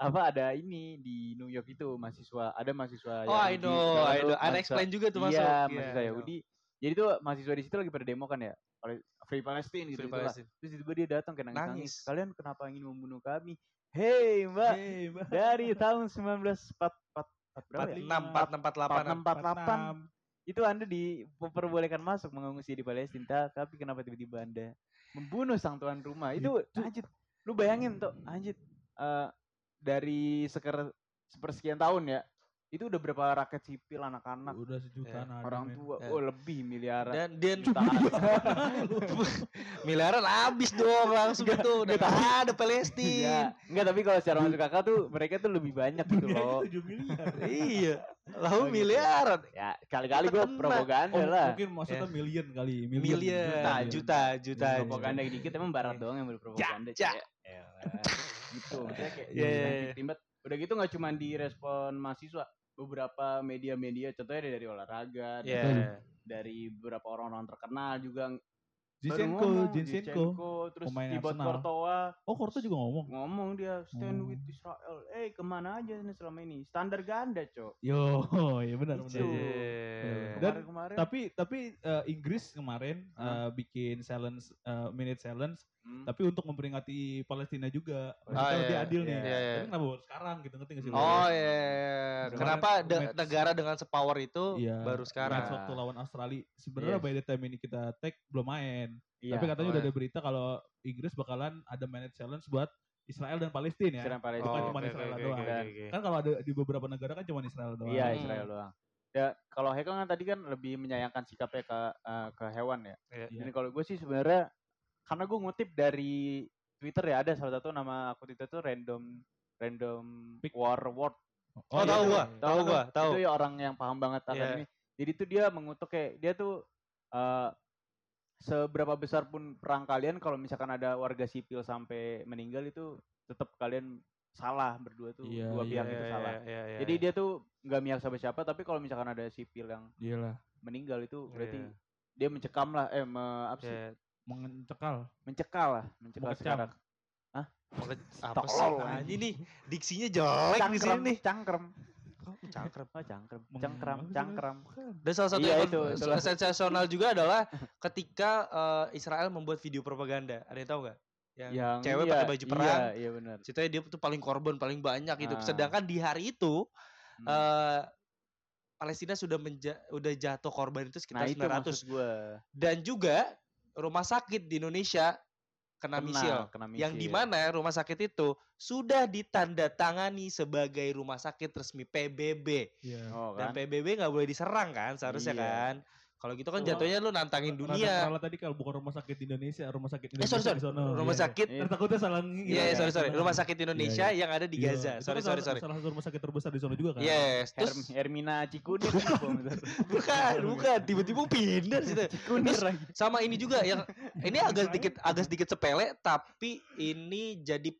[SPEAKER 3] apa ada ini di New York itu mahasiswa ada mahasiswa
[SPEAKER 2] Oh, I
[SPEAKER 3] Yahudi
[SPEAKER 2] know,
[SPEAKER 3] sekarang
[SPEAKER 2] I
[SPEAKER 3] tuh
[SPEAKER 2] know.
[SPEAKER 3] mahasiswa-
[SPEAKER 2] Unexplained juga tuh masuk.
[SPEAKER 3] iya
[SPEAKER 2] Iya,
[SPEAKER 3] mahasiswa
[SPEAKER 2] I know.
[SPEAKER 3] Yahudi jadi tuh mahasiswa di situ lagi pada demo kan ya Pale- Free Palestine gitu,
[SPEAKER 2] Free
[SPEAKER 3] lah.
[SPEAKER 2] Palestine.
[SPEAKER 3] terus tiba dia datang kayak nangis, nangis
[SPEAKER 2] Nangis.
[SPEAKER 3] kalian kenapa ingin membunuh kami hei mbak
[SPEAKER 1] Hey, Bang.
[SPEAKER 3] dari tahun 1944 berapa ya?
[SPEAKER 2] 46 448.
[SPEAKER 3] 46, 48 itu anda diperbolehkan masuk mengungsi di Palestina tapi kenapa tiba-tiba anda membunuh sang tuan rumah itu anjir lu bayangin tuh anjir Eh, dari seker sepersekian tahun ya itu udah berapa rakyat sipil anak-anak
[SPEAKER 1] Udah sejutaan ada.
[SPEAKER 3] orang
[SPEAKER 1] men.
[SPEAKER 3] tua
[SPEAKER 2] Ya.
[SPEAKER 3] oh lebih miliaran
[SPEAKER 2] Dan dan
[SPEAKER 3] jutaan
[SPEAKER 2] miliaran habis dong langsung itu. Udah
[SPEAKER 3] nggak
[SPEAKER 2] nggak ada Palestina.
[SPEAKER 3] Iya. Enggak, tapi kalau secara masuk kakak tuh mereka tuh lebih banyak gitu
[SPEAKER 1] Dunia
[SPEAKER 3] loh.
[SPEAKER 1] aja 7 Iya, miliar.
[SPEAKER 2] Iya.
[SPEAKER 3] Oh,
[SPEAKER 2] Lalu
[SPEAKER 3] gitu.
[SPEAKER 2] miliaran.
[SPEAKER 3] Ya, kali-kali gue
[SPEAKER 2] Kita kena.
[SPEAKER 3] propaganda
[SPEAKER 1] Oh,
[SPEAKER 3] lah.
[SPEAKER 1] mungkin maksudnya million kali, ya. million.
[SPEAKER 2] Miliar, Nah, juta, juta,
[SPEAKER 1] Iya.
[SPEAKER 2] juta.
[SPEAKER 3] Propaganda dikit emang barat doang yang berpropaganda.
[SPEAKER 2] Ja, ja.
[SPEAKER 3] Cek. Elah. gitu. Maksudnya kayak
[SPEAKER 2] Iya, iya, iya.
[SPEAKER 3] timbet. Udah gitu nggak cuma direspon mahasiswa, beberapa media-media contohnya dari olahraga,
[SPEAKER 2] Iya.
[SPEAKER 3] dari beberapa orang-orang terkenal juga
[SPEAKER 1] Zinchenko,
[SPEAKER 3] baru ngomong,
[SPEAKER 1] Zinchenko.
[SPEAKER 3] terus
[SPEAKER 1] pemain
[SPEAKER 3] Thibaut
[SPEAKER 1] Arsenal.
[SPEAKER 3] Courtois
[SPEAKER 1] Oh, Korto juga ngomong.
[SPEAKER 3] ngomong dia stand
[SPEAKER 1] Oh.
[SPEAKER 3] with Israel. Eh, kemana aja ini selama ini? Standar ganda, Cok.
[SPEAKER 1] Yo, ya benar
[SPEAKER 3] Itu.
[SPEAKER 1] benar.
[SPEAKER 2] Iya.
[SPEAKER 1] Dan-
[SPEAKER 3] Kemarin-kemarin.
[SPEAKER 1] Tapi tapi eh, Inggris kemarin eh,
[SPEAKER 3] Ah.
[SPEAKER 1] bikin silence eh, minute silence
[SPEAKER 3] Hmm.
[SPEAKER 1] tapi untuk memperingati Palestina juga.
[SPEAKER 3] Oh,
[SPEAKER 1] Maksudnya
[SPEAKER 2] iya,
[SPEAKER 1] lebih
[SPEAKER 2] iya,
[SPEAKER 1] adil
[SPEAKER 3] iya,
[SPEAKER 1] nih.
[SPEAKER 2] iya, iya.
[SPEAKER 1] Tapi kenapa baru sekarang gitu ngerti nggak sih? lo?
[SPEAKER 2] Oh iya.
[SPEAKER 1] Kemarin
[SPEAKER 2] Kenapa de-
[SPEAKER 1] match.
[SPEAKER 2] negara dengan sepower itu
[SPEAKER 1] Iya.
[SPEAKER 2] baru
[SPEAKER 1] Pas
[SPEAKER 2] sekarang?
[SPEAKER 1] waktu lawan Australia sebenarnya
[SPEAKER 3] Yes.
[SPEAKER 1] by the time ini kita tag belum main.
[SPEAKER 3] Iya.
[SPEAKER 1] Tapi katanya udah
[SPEAKER 2] main.
[SPEAKER 1] ada berita kalau Inggris bakalan ada minute challenge buat Israel dan Palestina ya.
[SPEAKER 3] Serang Palestina.
[SPEAKER 1] Bukan
[SPEAKER 2] Oh,
[SPEAKER 1] cuma
[SPEAKER 2] oke,
[SPEAKER 1] Israel
[SPEAKER 2] oke,
[SPEAKER 1] doang.
[SPEAKER 2] oke, oke, oke.
[SPEAKER 1] Kan kalau ada di beberapa negara kan cuma Israel doang.
[SPEAKER 3] Iya
[SPEAKER 2] Hmm.
[SPEAKER 3] Israel doang. Ya kalau Heko kan tadi kan lebih menyayangkan sikapnya ke eh, ke hewan ya.
[SPEAKER 2] Iya.
[SPEAKER 3] Jadi kalau gue sih sebenarnya karena gue ngutip dari Twitter ya ada salah satu nama aku Twitter tuh random random
[SPEAKER 1] Pick.
[SPEAKER 3] war word.
[SPEAKER 1] iya,
[SPEAKER 2] Oh, tahu
[SPEAKER 1] iya,
[SPEAKER 2] gua,
[SPEAKER 1] iya.
[SPEAKER 2] tahu
[SPEAKER 3] kan?
[SPEAKER 2] gua, tahu.
[SPEAKER 3] Itu ya orang yang paham banget akan
[SPEAKER 2] Iya.
[SPEAKER 3] ini. Jadi tuh dia mengutuk kayak dia tuh eh, seberapa besar pun perang kalian kalau misalkan ada warga sipil sampai meninggal itu tetap kalian salah berdua tuh
[SPEAKER 1] Iya,
[SPEAKER 3] dua pihak
[SPEAKER 1] iya,
[SPEAKER 3] itu
[SPEAKER 2] Iya,
[SPEAKER 3] salah.
[SPEAKER 2] iya, iya, iya.
[SPEAKER 3] Jadi dia tuh nggak mihak sama siapa, tapi kalau misalkan ada sipil yang
[SPEAKER 1] Iyalah,
[SPEAKER 3] meninggal itu berarti
[SPEAKER 2] Iya.
[SPEAKER 3] dia mencekam lah, eh me- apa sih?
[SPEAKER 2] Iya.
[SPEAKER 1] mengcekal.
[SPEAKER 3] Mencekal lah, mencekal
[SPEAKER 1] Mengecam.
[SPEAKER 3] sekarang.
[SPEAKER 2] Maka- apa sih?
[SPEAKER 3] Tolol,
[SPEAKER 2] Nah,
[SPEAKER 3] anjing.
[SPEAKER 2] ini nih, diksinya jelek di
[SPEAKER 3] Cangkrem,
[SPEAKER 2] sini.
[SPEAKER 3] cangkrem,
[SPEAKER 2] Cangkrem.
[SPEAKER 3] oh cangkrem,
[SPEAKER 1] Meng-
[SPEAKER 3] cangkram,
[SPEAKER 1] apa sih
[SPEAKER 3] cangkram.
[SPEAKER 2] Dan salah satu
[SPEAKER 3] Iya,
[SPEAKER 2] yang
[SPEAKER 3] itu,
[SPEAKER 2] kon-
[SPEAKER 3] itulah.
[SPEAKER 2] sensasional juga adalah ketika eh, Israel membuat video propaganda. Ada yang tahu nggak? Yang,
[SPEAKER 3] Yang
[SPEAKER 2] cewek
[SPEAKER 3] iya,
[SPEAKER 2] pakai baju perang.
[SPEAKER 3] Iya, iya benar.
[SPEAKER 2] Ceritanya dia tuh paling korban, paling banyak gitu.
[SPEAKER 3] Ah.
[SPEAKER 2] Sedangkan di hari itu
[SPEAKER 3] Hmm.
[SPEAKER 2] eh Palestina sudah menja- udah jatuh korban itu sekitar
[SPEAKER 3] nah
[SPEAKER 2] 900
[SPEAKER 3] itu maksud gue.
[SPEAKER 2] dan juga rumah sakit di Indonesia kena misil.
[SPEAKER 3] kena misil.
[SPEAKER 2] Yang di mana rumah sakit itu sudah ditandatangani sebagai rumah sakit resmi PBB.
[SPEAKER 1] Iya.
[SPEAKER 3] Oh,
[SPEAKER 2] Dan
[SPEAKER 3] kan?
[SPEAKER 2] PBB nggak boleh diserang kan seharusnya
[SPEAKER 3] Iya.
[SPEAKER 2] kan. Kalau gitu
[SPEAKER 1] Oh,
[SPEAKER 2] kan jatuhnya lu nantangin dunia.
[SPEAKER 1] Kalau tadi kalau bukan rumah sakit di Indonesia, rumah sakit
[SPEAKER 2] Eh
[SPEAKER 1] Indonesia
[SPEAKER 2] sorry sorry.
[SPEAKER 1] di sono.
[SPEAKER 2] Rumah
[SPEAKER 1] Iya.
[SPEAKER 2] sakit
[SPEAKER 3] Iya.
[SPEAKER 1] Ntar takutnya salah ngingin.
[SPEAKER 2] Iya, sorry sorry.
[SPEAKER 1] Iya.
[SPEAKER 2] Rumah sakit Indonesia yang ada di
[SPEAKER 1] Iya.
[SPEAKER 2] Gaza.
[SPEAKER 1] Itu
[SPEAKER 2] Sorry
[SPEAKER 1] kan
[SPEAKER 2] sorry
[SPEAKER 1] salah-
[SPEAKER 2] sorry. Iya,
[SPEAKER 1] Salah satu rumah sakit terbesar di sono juga kan?
[SPEAKER 2] Yes, terus
[SPEAKER 3] Herm- Hermina Cikunir
[SPEAKER 2] bukan, bukan tiba-tiba pindah di situ.
[SPEAKER 3] Cikunir lagi.
[SPEAKER 2] Sama ini juga yang ini agak sedikit agak sedikit sepele tapi ini jadi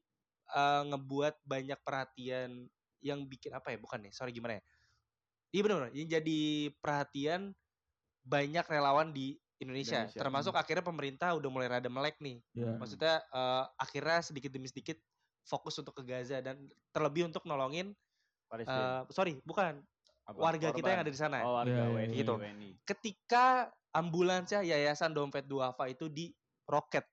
[SPEAKER 2] eh, ngebuat banyak perhatian yang bikin apa ya? Bukan nih, sorry gimana ya? Iya benar, benar. yang jadi perhatian banyak relawan di Indonesia,
[SPEAKER 3] Indonesia,
[SPEAKER 2] termasuk akhirnya pemerintah udah mulai rada melek nih.
[SPEAKER 1] Iya.
[SPEAKER 3] Hmm.
[SPEAKER 2] Maksudnya eh, akhirnya sedikit demi sedikit fokus untuk ke Gaza dan terlebih untuk nolongin
[SPEAKER 3] Palestina.
[SPEAKER 2] Eh, sorry, bukan
[SPEAKER 3] ya. Apa?
[SPEAKER 2] warga kita yang
[SPEAKER 3] Korban.
[SPEAKER 2] ada di sana.
[SPEAKER 3] Oh,
[SPEAKER 1] Iya,
[SPEAKER 3] warga
[SPEAKER 1] iya,
[SPEAKER 3] WNI,
[SPEAKER 2] gitu.
[SPEAKER 3] WNI.
[SPEAKER 2] Ketika ambulansnya Yayasan Dompet Duafa itu di roket.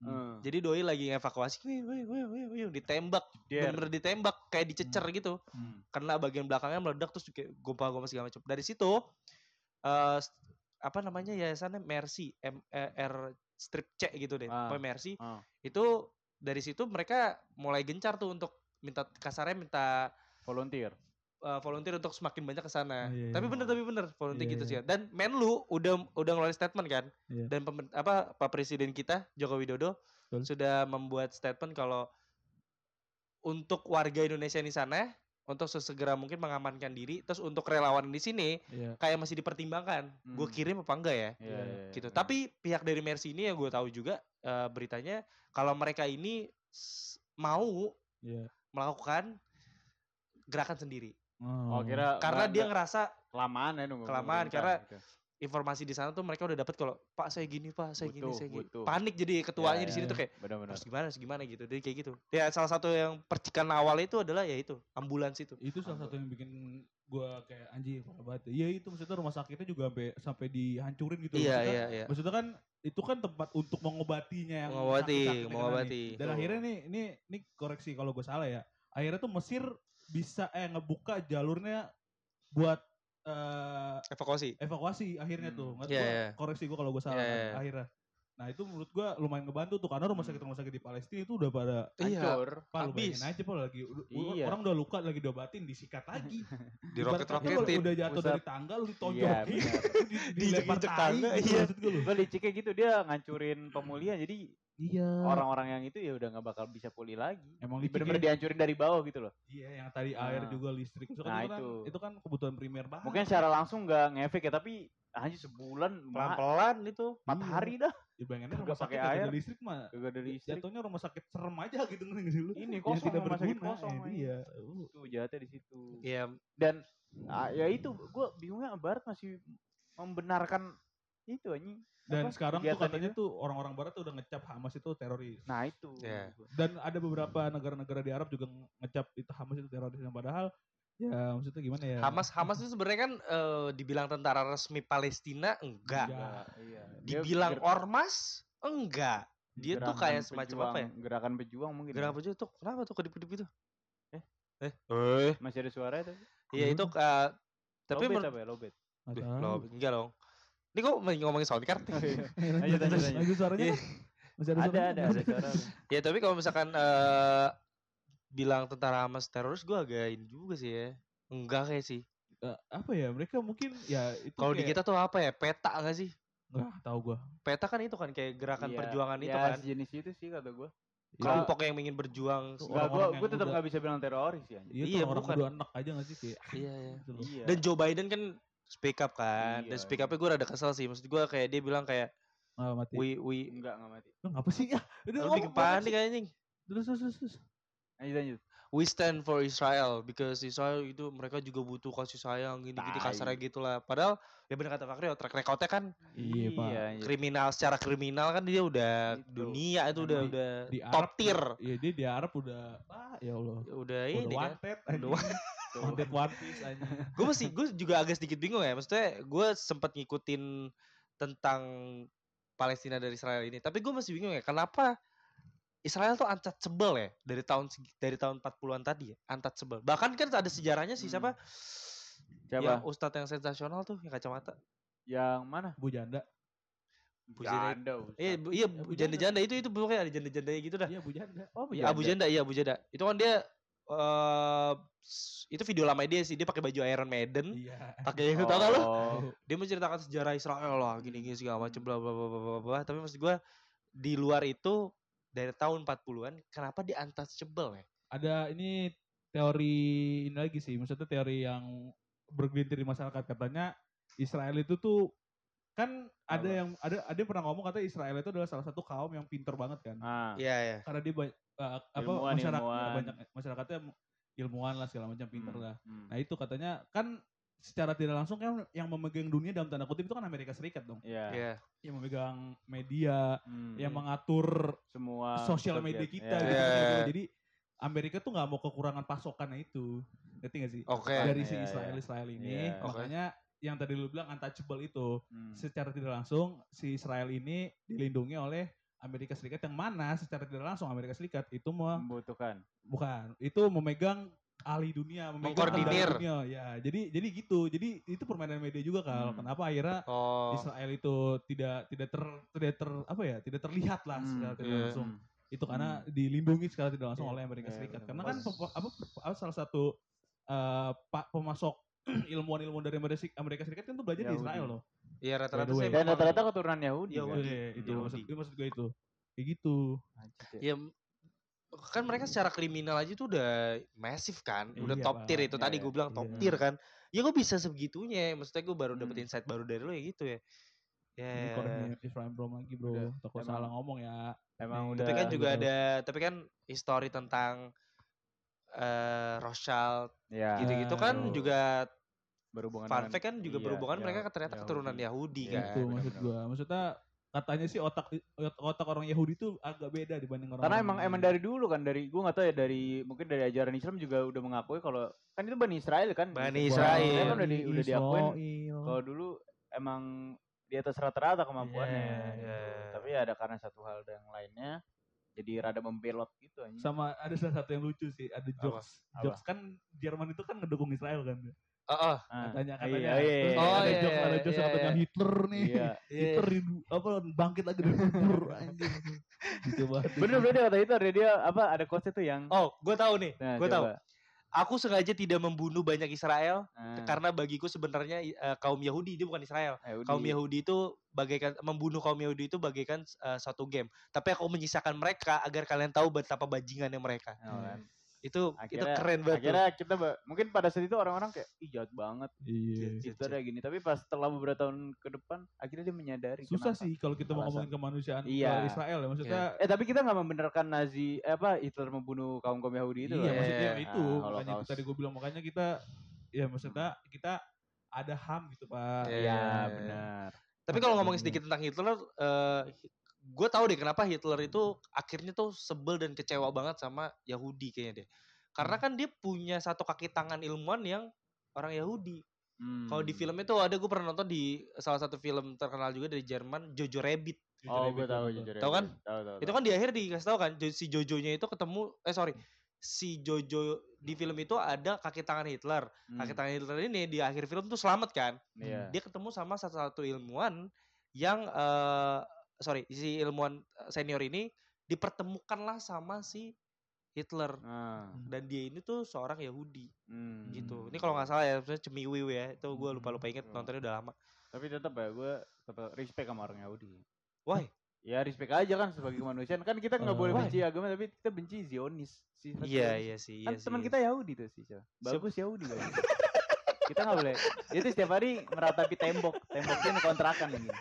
[SPEAKER 3] Hmm.
[SPEAKER 2] Jadi doi lagi evakuasi, wih, wih, wih, wih, wih, ditembak,
[SPEAKER 3] Der.
[SPEAKER 2] bener-bener ditembak, kayak dicecer gitu.
[SPEAKER 3] Iya. Hmm.
[SPEAKER 2] Karena bagian belakangnya meledak terus kayak gompa-gompa segala macam. Dari situ eh s- apa namanya yayasannya Mercy M eh, R strip C gitu deh.
[SPEAKER 3] Ah.
[SPEAKER 2] Pokoknya Mercy.
[SPEAKER 3] Ah.
[SPEAKER 2] Itu dari situ mereka mulai gencar tuh untuk minta kasarnya minta
[SPEAKER 3] Volunteer.
[SPEAKER 2] uh, volunteer untuk semakin banyak ke sana.
[SPEAKER 1] Oh, iya,
[SPEAKER 2] Tapi
[SPEAKER 1] iya.
[SPEAKER 2] bener tapi bener volunteer
[SPEAKER 1] Iya,
[SPEAKER 2] gitu sih.
[SPEAKER 1] iya.
[SPEAKER 2] ya. Dan Menlu udah udah ngeluarin statement kan.
[SPEAKER 1] Iya.
[SPEAKER 2] Dan pemen- apa Pak Presiden kita Joko Widodo
[SPEAKER 1] Betul.
[SPEAKER 2] sudah membuat statement kalau untuk warga Indonesia di sana untuk sesegera mungkin mengamankan diri terus untuk relawan di sini
[SPEAKER 1] Iya.
[SPEAKER 2] kayak masih dipertimbangkan gue
[SPEAKER 3] Hmm.
[SPEAKER 2] kirim apa enggak ya
[SPEAKER 3] Iya, iya, iya,
[SPEAKER 2] gitu
[SPEAKER 3] iya.
[SPEAKER 2] tapi pihak dari Mercy ini yang gue tahu juga eh, beritanya kalau mereka ini s- mau
[SPEAKER 1] Iya.
[SPEAKER 2] melakukan gerakan sendiri
[SPEAKER 3] Oh, kira
[SPEAKER 2] Hmm. karena
[SPEAKER 3] nggak-
[SPEAKER 2] dia
[SPEAKER 3] nggak-
[SPEAKER 2] ngerasa
[SPEAKER 3] kelamaan ya nunggu
[SPEAKER 2] Kelamaan, karena
[SPEAKER 3] pemerintah, gitu.
[SPEAKER 2] informasi di sana tuh mereka udah dapat kalau pak saya gini pak saya gini
[SPEAKER 3] Butuh,
[SPEAKER 2] saya gini
[SPEAKER 3] butuh.
[SPEAKER 2] panik jadi ketuanya
[SPEAKER 3] Ya,
[SPEAKER 2] di
[SPEAKER 3] ya,
[SPEAKER 2] sini tuh
[SPEAKER 1] ya.
[SPEAKER 2] kayak
[SPEAKER 3] benar-benar
[SPEAKER 2] harus gimana harus gimana gitu jadi kayak gitu ya salah satu yang percikan awal itu adalah ya itu ambulans itu
[SPEAKER 1] itu salah satu yang bikin gua kayak anjing parah banget. Iya itu maksudnya rumah sakitnya juga sampai sampai dihancurin gitu.
[SPEAKER 2] iya
[SPEAKER 1] Maksudnya-
[SPEAKER 2] iya iya
[SPEAKER 1] Maksudnya kan itu kan tempat untuk mengobatinya yang
[SPEAKER 2] Mengobati,
[SPEAKER 1] sakit-sakitnya kena
[SPEAKER 2] mengobati.
[SPEAKER 1] nih. Dan
[SPEAKER 3] Betul.
[SPEAKER 1] akhirnya nih ini ini koreksi kalau gue salah ya. Akhirnya tuh Mesir bisa eh ngebuka jalurnya buat eh,
[SPEAKER 2] evakuasi
[SPEAKER 1] evakuasi akhirnya
[SPEAKER 3] Hmm.
[SPEAKER 1] tuh. Nggak
[SPEAKER 2] Iya,
[SPEAKER 1] gua
[SPEAKER 2] iya.
[SPEAKER 1] koreksi gue kalau gue salah
[SPEAKER 2] Iya,
[SPEAKER 1] kan,
[SPEAKER 2] iya.
[SPEAKER 1] akhirnya. Nah itu menurut gue lumayan ngebantu tuh karena rumah
[SPEAKER 3] Hmm.
[SPEAKER 1] sakit rumah sakit di Palestina itu udah pada
[SPEAKER 3] Nah,
[SPEAKER 2] iya
[SPEAKER 3] hancur
[SPEAKER 1] Pak, lu
[SPEAKER 2] Habis.
[SPEAKER 1] bayangin aja Pak lagi u- u-
[SPEAKER 3] Iya.
[SPEAKER 1] orang udah luka lagi diobatin disikat lagi.
[SPEAKER 2] di
[SPEAKER 1] Ibarat
[SPEAKER 2] roket
[SPEAKER 1] kata lu
[SPEAKER 2] roketin
[SPEAKER 1] udah jatuh
[SPEAKER 3] Pusat.
[SPEAKER 1] dari tangga lu
[SPEAKER 3] Iya,
[SPEAKER 1] ditonjokin.
[SPEAKER 3] benar.
[SPEAKER 1] di,
[SPEAKER 2] Dijepit tangga, iya.
[SPEAKER 1] Iya. Maksud gue lu.
[SPEAKER 3] gue liciknya gitu dia ngancurin pemulihan jadi
[SPEAKER 1] Iya.
[SPEAKER 2] Hmm.
[SPEAKER 3] orang-orang yang itu ya udah nggak bakal bisa pulih lagi
[SPEAKER 1] Emang licik
[SPEAKER 3] bener-bener
[SPEAKER 1] ya.
[SPEAKER 3] dihancurin dari bawah gitu loh
[SPEAKER 1] Iya, yang tadi air
[SPEAKER 3] Nah.
[SPEAKER 1] juga listrik. Maksudnya
[SPEAKER 3] Nah,
[SPEAKER 1] itu, kan,
[SPEAKER 3] itu.
[SPEAKER 1] itu kan kebutuhan primer banget.
[SPEAKER 2] Ah.
[SPEAKER 3] mungkin secara langsung nggak ngefek ya tapi anjir sebulan
[SPEAKER 2] pelan
[SPEAKER 3] ma-
[SPEAKER 2] pelan itu
[SPEAKER 3] empat
[SPEAKER 1] Iya.
[SPEAKER 3] hari dah
[SPEAKER 1] dibayanginnya
[SPEAKER 3] Kagak
[SPEAKER 1] rumah sakit
[SPEAKER 3] pakai
[SPEAKER 1] nggak ada
[SPEAKER 3] air.
[SPEAKER 1] listrik mah.
[SPEAKER 3] gak ada listrik
[SPEAKER 1] Jatuhnya rumah sakit serem aja gitu ngerti nggak sih lu.
[SPEAKER 3] ini
[SPEAKER 1] Yang
[SPEAKER 3] kosong rumah sakit
[SPEAKER 1] berguna,
[SPEAKER 3] kosong
[SPEAKER 1] eh,
[SPEAKER 3] ini.
[SPEAKER 1] Iya.
[SPEAKER 3] itu gitu, jahatnya di situ
[SPEAKER 2] iya
[SPEAKER 3] dan ah, ya itu gue bingungnya Barat masih membenarkan itu anjing
[SPEAKER 1] Dan
[SPEAKER 3] Apa?
[SPEAKER 1] sekarang tuh
[SPEAKER 3] Kegiatan
[SPEAKER 1] katanya tuh orang-orang barat tuh udah ngecap Hamas itu teroris.
[SPEAKER 3] nah itu
[SPEAKER 2] Iya.
[SPEAKER 1] dan ada beberapa negara-negara di Arab juga ngecap itu Hamas itu teroris yang padahal ya maksudnya gimana ya
[SPEAKER 2] Hamas Hamas itu sebenarnya kan eh, dibilang tentara resmi Palestina enggak
[SPEAKER 1] Enggak.
[SPEAKER 3] Nah, iya. Dia
[SPEAKER 2] dibilang
[SPEAKER 3] ger-
[SPEAKER 2] ormas enggak dia tuh
[SPEAKER 3] gerakan
[SPEAKER 2] kayak semacam apa ya
[SPEAKER 3] pejuang- gerakan pejuang mungkin ya.
[SPEAKER 2] gerakan pejuang tuh kenapa tuh kedip-kedip itu
[SPEAKER 3] Eh?
[SPEAKER 2] eh eh
[SPEAKER 3] masih ada suara itu
[SPEAKER 2] Iya
[SPEAKER 1] Hmm.
[SPEAKER 2] itu eh, tapi
[SPEAKER 3] tapi lobet
[SPEAKER 2] menurut
[SPEAKER 3] apa ya lobet
[SPEAKER 1] Nggak
[SPEAKER 2] Deh,
[SPEAKER 1] tahu.
[SPEAKER 2] lo enggak dong. Ini kok main ngomongin soundcard?
[SPEAKER 1] Eh, lanjut,
[SPEAKER 3] Lanjut,
[SPEAKER 1] lanjut,
[SPEAKER 3] lanjut.
[SPEAKER 1] lanjut suaranya
[SPEAKER 2] Iya.
[SPEAKER 1] kan? masih ada,
[SPEAKER 3] ada
[SPEAKER 1] suaranya
[SPEAKER 3] ada
[SPEAKER 1] kan?
[SPEAKER 3] ada suara
[SPEAKER 2] ya tapi kalau misalkan eh bilang tentara Hamas teroris gue agak ini juga sih ya. Enggak kayak sih.
[SPEAKER 1] Eh, apa ya mereka mungkin ya itu
[SPEAKER 2] Kalau di
[SPEAKER 3] Iya.
[SPEAKER 1] kayak-
[SPEAKER 2] kita tuh apa ya? Peta enggak sih?
[SPEAKER 1] nggak tahu gua
[SPEAKER 2] Peta kan itu kan kayak gerakan
[SPEAKER 3] Iya.
[SPEAKER 2] perjuangan itu
[SPEAKER 3] Ya,
[SPEAKER 2] kan.
[SPEAKER 3] sejenis itu sih kata gue
[SPEAKER 2] Kelompok yang ingin berjuang.
[SPEAKER 1] Tuh,
[SPEAKER 3] Enggak, gue
[SPEAKER 1] orang-orang
[SPEAKER 3] gue
[SPEAKER 1] yang
[SPEAKER 3] tetap
[SPEAKER 1] udah-
[SPEAKER 3] nggak bisa bilang teroris ya. anjir.
[SPEAKER 1] iya,
[SPEAKER 2] Iya,
[SPEAKER 1] tuh orang
[SPEAKER 2] bukan.
[SPEAKER 1] udah enak aja nggak sih kayak
[SPEAKER 2] Iya iya.
[SPEAKER 1] gitu loh.
[SPEAKER 3] Iya.
[SPEAKER 2] Dan Joe Biden kan speak up kan. Dan
[SPEAKER 3] Iya,
[SPEAKER 2] speak
[SPEAKER 3] iya.
[SPEAKER 2] upnya gue rada kesel sih. Maksud gue kayak dia bilang kayak
[SPEAKER 1] Ah, mati
[SPEAKER 2] we we
[SPEAKER 3] enggak enggak mati.
[SPEAKER 1] Lu ngapa sih ya udah
[SPEAKER 2] lu
[SPEAKER 1] ngomong
[SPEAKER 2] bikin
[SPEAKER 1] banget
[SPEAKER 2] panik
[SPEAKER 1] sih.
[SPEAKER 2] kan, anjing.
[SPEAKER 1] terus terus terus, terus
[SPEAKER 3] Lanjut lanjut.
[SPEAKER 2] we stand for Israel because Israel itu mereka juga butuh kasih sayang gini-gini
[SPEAKER 3] Tai.
[SPEAKER 2] kasarnya gitulah. Padahal ya benar kata Pak Rio, track recordnya kan
[SPEAKER 1] iya pak
[SPEAKER 3] anjir.
[SPEAKER 2] kriminal secara kriminal kan dia udah
[SPEAKER 3] Itu.
[SPEAKER 2] dunia itu udah
[SPEAKER 3] Emang
[SPEAKER 2] udah
[SPEAKER 1] di
[SPEAKER 2] top
[SPEAKER 1] Arab
[SPEAKER 2] tier.
[SPEAKER 1] iya dia di Arab udah ah ya Allah
[SPEAKER 2] Ya udah
[SPEAKER 1] udah
[SPEAKER 2] ini kan.
[SPEAKER 1] wanted anjing.
[SPEAKER 3] Tuh.
[SPEAKER 1] wanted one piece anjing.
[SPEAKER 2] Gue masih gue juga agak sedikit bingung ya. Maksudnya gue sempat ngikutin tentang Palestina dari Israel ini. Tapi gue masih bingung ya kenapa Israel tuh untouchable ya dari tahun segi- dari tahun 40-an tadi ya, untouchable. Bahkan kan ada sejarahnya sih siapa?
[SPEAKER 3] Siapa?
[SPEAKER 2] Iya. Yang ustadz yang sensasional tuh yang kacamata.
[SPEAKER 3] Yang mana?
[SPEAKER 1] Bu janda
[SPEAKER 2] Bu Janda.
[SPEAKER 3] Janda, Ustaz.
[SPEAKER 2] Iya, bu- iya
[SPEAKER 1] Bu
[SPEAKER 2] Bu janda-janda itu itu pokoknya ada janda-jandanya gitu dah.
[SPEAKER 1] Iya bujanda.
[SPEAKER 3] Oh,
[SPEAKER 2] Ya, Abu Janda, iya Abu Janda. Itu kan dia eh s- itu video lama dia sih, dia pakai baju Iron Maiden,
[SPEAKER 1] Iya.
[SPEAKER 2] pakai itu tau gak lo?
[SPEAKER 3] Oh.
[SPEAKER 2] Dia menceritakan sejarah Israel lah, gini-gini segala macam bla bla bla bla bla, bla. Tapi maksud gua di luar itu dari tahun 40-an kenapa di untouchable ya?
[SPEAKER 1] Ada ini teori ini lagi sih, maksudnya teori yang bergelintir di masyarakat katanya Israel itu tuh kan ada
[SPEAKER 3] Apa?
[SPEAKER 1] yang ada ada yang pernah ngomong katanya Israel itu adalah salah satu kaum yang pinter banget kan.
[SPEAKER 3] Ah,
[SPEAKER 2] Iya, iya.
[SPEAKER 1] Karena dia ba- eh, apa
[SPEAKER 3] Ilmuwan,
[SPEAKER 1] masyarakat
[SPEAKER 3] ilmuwan.
[SPEAKER 1] banyak masyarakatnya ilmuwan lah segala macam pinter lah.
[SPEAKER 3] hmm.
[SPEAKER 1] Nah itu katanya kan secara tidak langsung kan yang memegang dunia dalam tanda kutip itu kan Amerika Serikat dong.
[SPEAKER 3] Iya.
[SPEAKER 2] Iya.
[SPEAKER 1] Yang memegang media,
[SPEAKER 3] Hmm. Ah,
[SPEAKER 1] yang mengatur
[SPEAKER 3] semua
[SPEAKER 1] Iya, sosial
[SPEAKER 3] subjek.
[SPEAKER 1] media kita
[SPEAKER 3] Iya.
[SPEAKER 1] gitu.
[SPEAKER 2] Iya.
[SPEAKER 1] kan. Jadi Amerika tuh nggak mau kekurangan pasokannya itu. Ngerti gak sih?
[SPEAKER 2] Oke.
[SPEAKER 1] Dari
[SPEAKER 3] Iya,
[SPEAKER 1] si
[SPEAKER 3] iya.
[SPEAKER 1] Israel-Israel ini,
[SPEAKER 3] Iya.
[SPEAKER 2] Oke.
[SPEAKER 1] makanya yang tadi lu bilang untouchable itu
[SPEAKER 3] Hmm.
[SPEAKER 1] secara tidak langsung si Israel ini dilindungi oleh Amerika Serikat yang mana secara tidak langsung Amerika Serikat itu mau
[SPEAKER 3] membutuhkan.
[SPEAKER 1] bukan itu memegang ahli dunia memegang
[SPEAKER 2] Mengkoordinir.
[SPEAKER 1] kendali dunia ya jadi jadi gitu jadi itu permainan media juga kalau
[SPEAKER 3] Hmm.
[SPEAKER 1] kenapa akhirnya
[SPEAKER 2] Oh.
[SPEAKER 1] Israel itu tidak tidak ter tidak ter apa ya tidak terlihat lah
[SPEAKER 3] Hmm,
[SPEAKER 1] secara tidak
[SPEAKER 2] iya.
[SPEAKER 1] langsung
[SPEAKER 3] Hmm.
[SPEAKER 1] itu karena dilindungi secara tidak langsung
[SPEAKER 2] Iya,
[SPEAKER 1] oleh Amerika
[SPEAKER 3] iya,
[SPEAKER 1] Serikat
[SPEAKER 3] benar.
[SPEAKER 1] karena kan
[SPEAKER 2] Pas-
[SPEAKER 1] pe- apa, apa salah satu eh, pa- pemasok ilmuwan-ilmuwan dari Amerika Seri- Amerika Serikat kan tuh belajar di
[SPEAKER 3] Yahudi.
[SPEAKER 1] Israel loh
[SPEAKER 2] Iya
[SPEAKER 1] By the
[SPEAKER 2] rata-rata saya
[SPEAKER 1] way.
[SPEAKER 3] Dan
[SPEAKER 2] memang-
[SPEAKER 3] rata-rata keturunan Yahudi.
[SPEAKER 2] Iya,
[SPEAKER 3] kan?
[SPEAKER 2] Yahudi.
[SPEAKER 1] Iya, itu
[SPEAKER 2] Yahudi.
[SPEAKER 1] maksud, itu maksud gue itu kayak gitu
[SPEAKER 3] Anjir, ya.
[SPEAKER 2] Ya, m- kan mereka secara kriminal aja tuh udah masif kan, udah
[SPEAKER 1] Iya,
[SPEAKER 2] top tier
[SPEAKER 1] Pak.
[SPEAKER 2] itu
[SPEAKER 3] Iya,
[SPEAKER 2] tadi
[SPEAKER 3] iya.
[SPEAKER 2] gue bilang top
[SPEAKER 1] Iya.
[SPEAKER 2] tier kan. Ya gue bisa sebegitunya, maksudnya gue baru dapet
[SPEAKER 3] Hmm.
[SPEAKER 2] insight baru dari lo ya gitu ya. Ya.
[SPEAKER 1] Ini koordinir Israel Brom lagi bro
[SPEAKER 3] Udah,
[SPEAKER 1] takut
[SPEAKER 3] emang.
[SPEAKER 1] salah ngomong ya Tapi
[SPEAKER 3] Emang udah.
[SPEAKER 2] Tapi kan
[SPEAKER 1] Iya,
[SPEAKER 2] juga
[SPEAKER 1] gitu.
[SPEAKER 2] ada, tapi kan histori tentang eh Rothschild
[SPEAKER 3] ya,
[SPEAKER 2] gitu-gitu kan
[SPEAKER 1] Aduh.
[SPEAKER 2] juga
[SPEAKER 3] berhubungan
[SPEAKER 2] fun
[SPEAKER 3] dengan-
[SPEAKER 2] fact kan juga
[SPEAKER 3] iya,
[SPEAKER 2] berhubungan
[SPEAKER 3] Yah-
[SPEAKER 2] mereka ternyata keturunan Yahudi
[SPEAKER 3] Iya,
[SPEAKER 1] gitu
[SPEAKER 2] kan.
[SPEAKER 1] maksud
[SPEAKER 3] benar-benar.
[SPEAKER 1] gue maksudnya katanya sih otak otak orang Yahudi tuh agak beda dibanding orang
[SPEAKER 3] Karena emang emang dari dulu kan dari gua nggak tahu ya dari mungkin dari ajaran Islam juga udah mengakui kalau kan itu Bani Israel kan.
[SPEAKER 2] Bani
[SPEAKER 3] Bani
[SPEAKER 2] Israel.
[SPEAKER 3] kan udah di,
[SPEAKER 1] Iya,
[SPEAKER 3] udah diakuin
[SPEAKER 1] diakuin
[SPEAKER 3] kalau dulu emang di atas rata-rata kemampuannya.
[SPEAKER 2] Iya,
[SPEAKER 3] gitu.
[SPEAKER 2] iya.
[SPEAKER 3] Tapi ya ada karena satu hal dan lainnya jadi rada membelot gitu anjing.
[SPEAKER 1] sama ada salah satu yang lucu sih ada jokes
[SPEAKER 3] Apa?
[SPEAKER 1] jokes kan Jerman itu kan ngedukung Israel kan
[SPEAKER 2] Oh, oh.
[SPEAKER 3] Ah,
[SPEAKER 1] katanya katanya
[SPEAKER 3] iya, iya,
[SPEAKER 1] terus
[SPEAKER 3] iya,
[SPEAKER 2] Oh,
[SPEAKER 1] ada
[SPEAKER 2] iya,
[SPEAKER 1] jokes ada
[SPEAKER 2] iya,
[SPEAKER 1] jokes
[SPEAKER 2] iya,
[SPEAKER 1] katanya
[SPEAKER 2] iya.
[SPEAKER 1] Hitler nih
[SPEAKER 3] Iya.
[SPEAKER 1] Hitler di, apa bangkit lagi dari kubur anjing gitu banget
[SPEAKER 3] Bener bener dia kata itu ada dia apa ada quotes itu yang
[SPEAKER 2] Oh, gue tahu nih,
[SPEAKER 3] Nah,
[SPEAKER 2] gue tahu.
[SPEAKER 3] coba.
[SPEAKER 2] Aku sengaja tidak membunuh banyak Israel
[SPEAKER 3] Nah,
[SPEAKER 2] karena bagiku sebenarnya eh, kaum Yahudi dia bukan Israel.
[SPEAKER 3] Yahudi.
[SPEAKER 2] kaum Yahudi itu bagaikan membunuh kaum Yahudi itu bagaikan eh, satu game. Tapi aku menyisakan mereka agar kalian tahu betapa bajingannya mereka.
[SPEAKER 3] Nah, kan.
[SPEAKER 2] Itu
[SPEAKER 3] Akhirnya-
[SPEAKER 2] itu keren banget. tuh.
[SPEAKER 3] Akhirnya kita ba- mungkin pada saat itu orang-orang kayak ih jahat banget
[SPEAKER 1] iya
[SPEAKER 3] gitu ada gini tapi pas setelah beberapa tahun ke depan akhirnya dia menyadari
[SPEAKER 1] susah
[SPEAKER 3] kenapa.
[SPEAKER 1] sih kalau kita mau
[SPEAKER 3] Alasan.
[SPEAKER 1] ngomongin kemanusiaan ke
[SPEAKER 3] Iya.
[SPEAKER 1] Israel ya maksudnya
[SPEAKER 3] Eh tapi kita nggak membenarkan Nazi eh, apa Hitler membunuh kaum kaum Yahudi itu
[SPEAKER 1] iya
[SPEAKER 3] loh.
[SPEAKER 1] maksudnya
[SPEAKER 2] Iya.
[SPEAKER 1] itu
[SPEAKER 3] Ah,
[SPEAKER 1] makanya itu
[SPEAKER 3] Holocaust.
[SPEAKER 1] tadi gue bilang makanya kita ya maksudnya kita ada ham gitu pak
[SPEAKER 2] Iya.
[SPEAKER 3] Iya benar.
[SPEAKER 2] Tapi kalau ngomongin sedikit tentang Hitler, gue tahu deh kenapa Hitler itu akhirnya tuh sebel dan kecewa banget sama Yahudi kayaknya deh. Karena kan dia punya satu kaki tangan ilmuwan yang orang Yahudi.
[SPEAKER 3] Hmm.
[SPEAKER 2] Kalau di film itu ada gue pernah nonton di salah satu film terkenal juga dari Jerman, Jojo Rabbit.
[SPEAKER 1] Jujur
[SPEAKER 3] Oh,
[SPEAKER 1] aja
[SPEAKER 3] gue
[SPEAKER 1] gitu,
[SPEAKER 3] tahu
[SPEAKER 1] Bang.
[SPEAKER 3] jujur.
[SPEAKER 2] Tahu kan?
[SPEAKER 3] Tahu tahu.
[SPEAKER 2] Itu kan di akhir dikasih tahu kan Jo- si Jojo-nya itu ketemu eh sorry si Jojo di film itu ada kaki tangan Hitler. Kaki tangan Hitler ini di akhir film tuh selamat kan.
[SPEAKER 3] Hmm, Iya.
[SPEAKER 2] Dia ketemu sama satu-satu ilmuwan yang eh sorry si ilmuwan eh, senior ini dipertemukanlah sama si Hitler
[SPEAKER 3] Ah,
[SPEAKER 2] dan dia ini tuh seorang Yahudi
[SPEAKER 3] hmm.
[SPEAKER 2] gitu. Ini kalau nggak salah ya sebenarnya Cemiwiw ya. Itu gue lupa-lupa inget
[SPEAKER 3] Hmm.
[SPEAKER 2] nontonnya udah lama.
[SPEAKER 3] Tapi tetap ya gue tetap respect sama orang Yahudi.
[SPEAKER 2] Why?
[SPEAKER 3] Ya respect aja kan sebagai kemanusiaan. Kan kita
[SPEAKER 1] Eh,
[SPEAKER 3] nggak boleh
[SPEAKER 1] why?
[SPEAKER 3] benci agama tapi kita benci Zionis. Si
[SPEAKER 2] Iya iya sih
[SPEAKER 3] Kan
[SPEAKER 2] iya sih.
[SPEAKER 3] teman
[SPEAKER 2] iya
[SPEAKER 3] kita Yahudi tuh sih. Cel. Bagus Yahudi bagus. kita nggak boleh. Dia tuh setiap hari meratapi tembok. Temboknya ini kontrakan ini.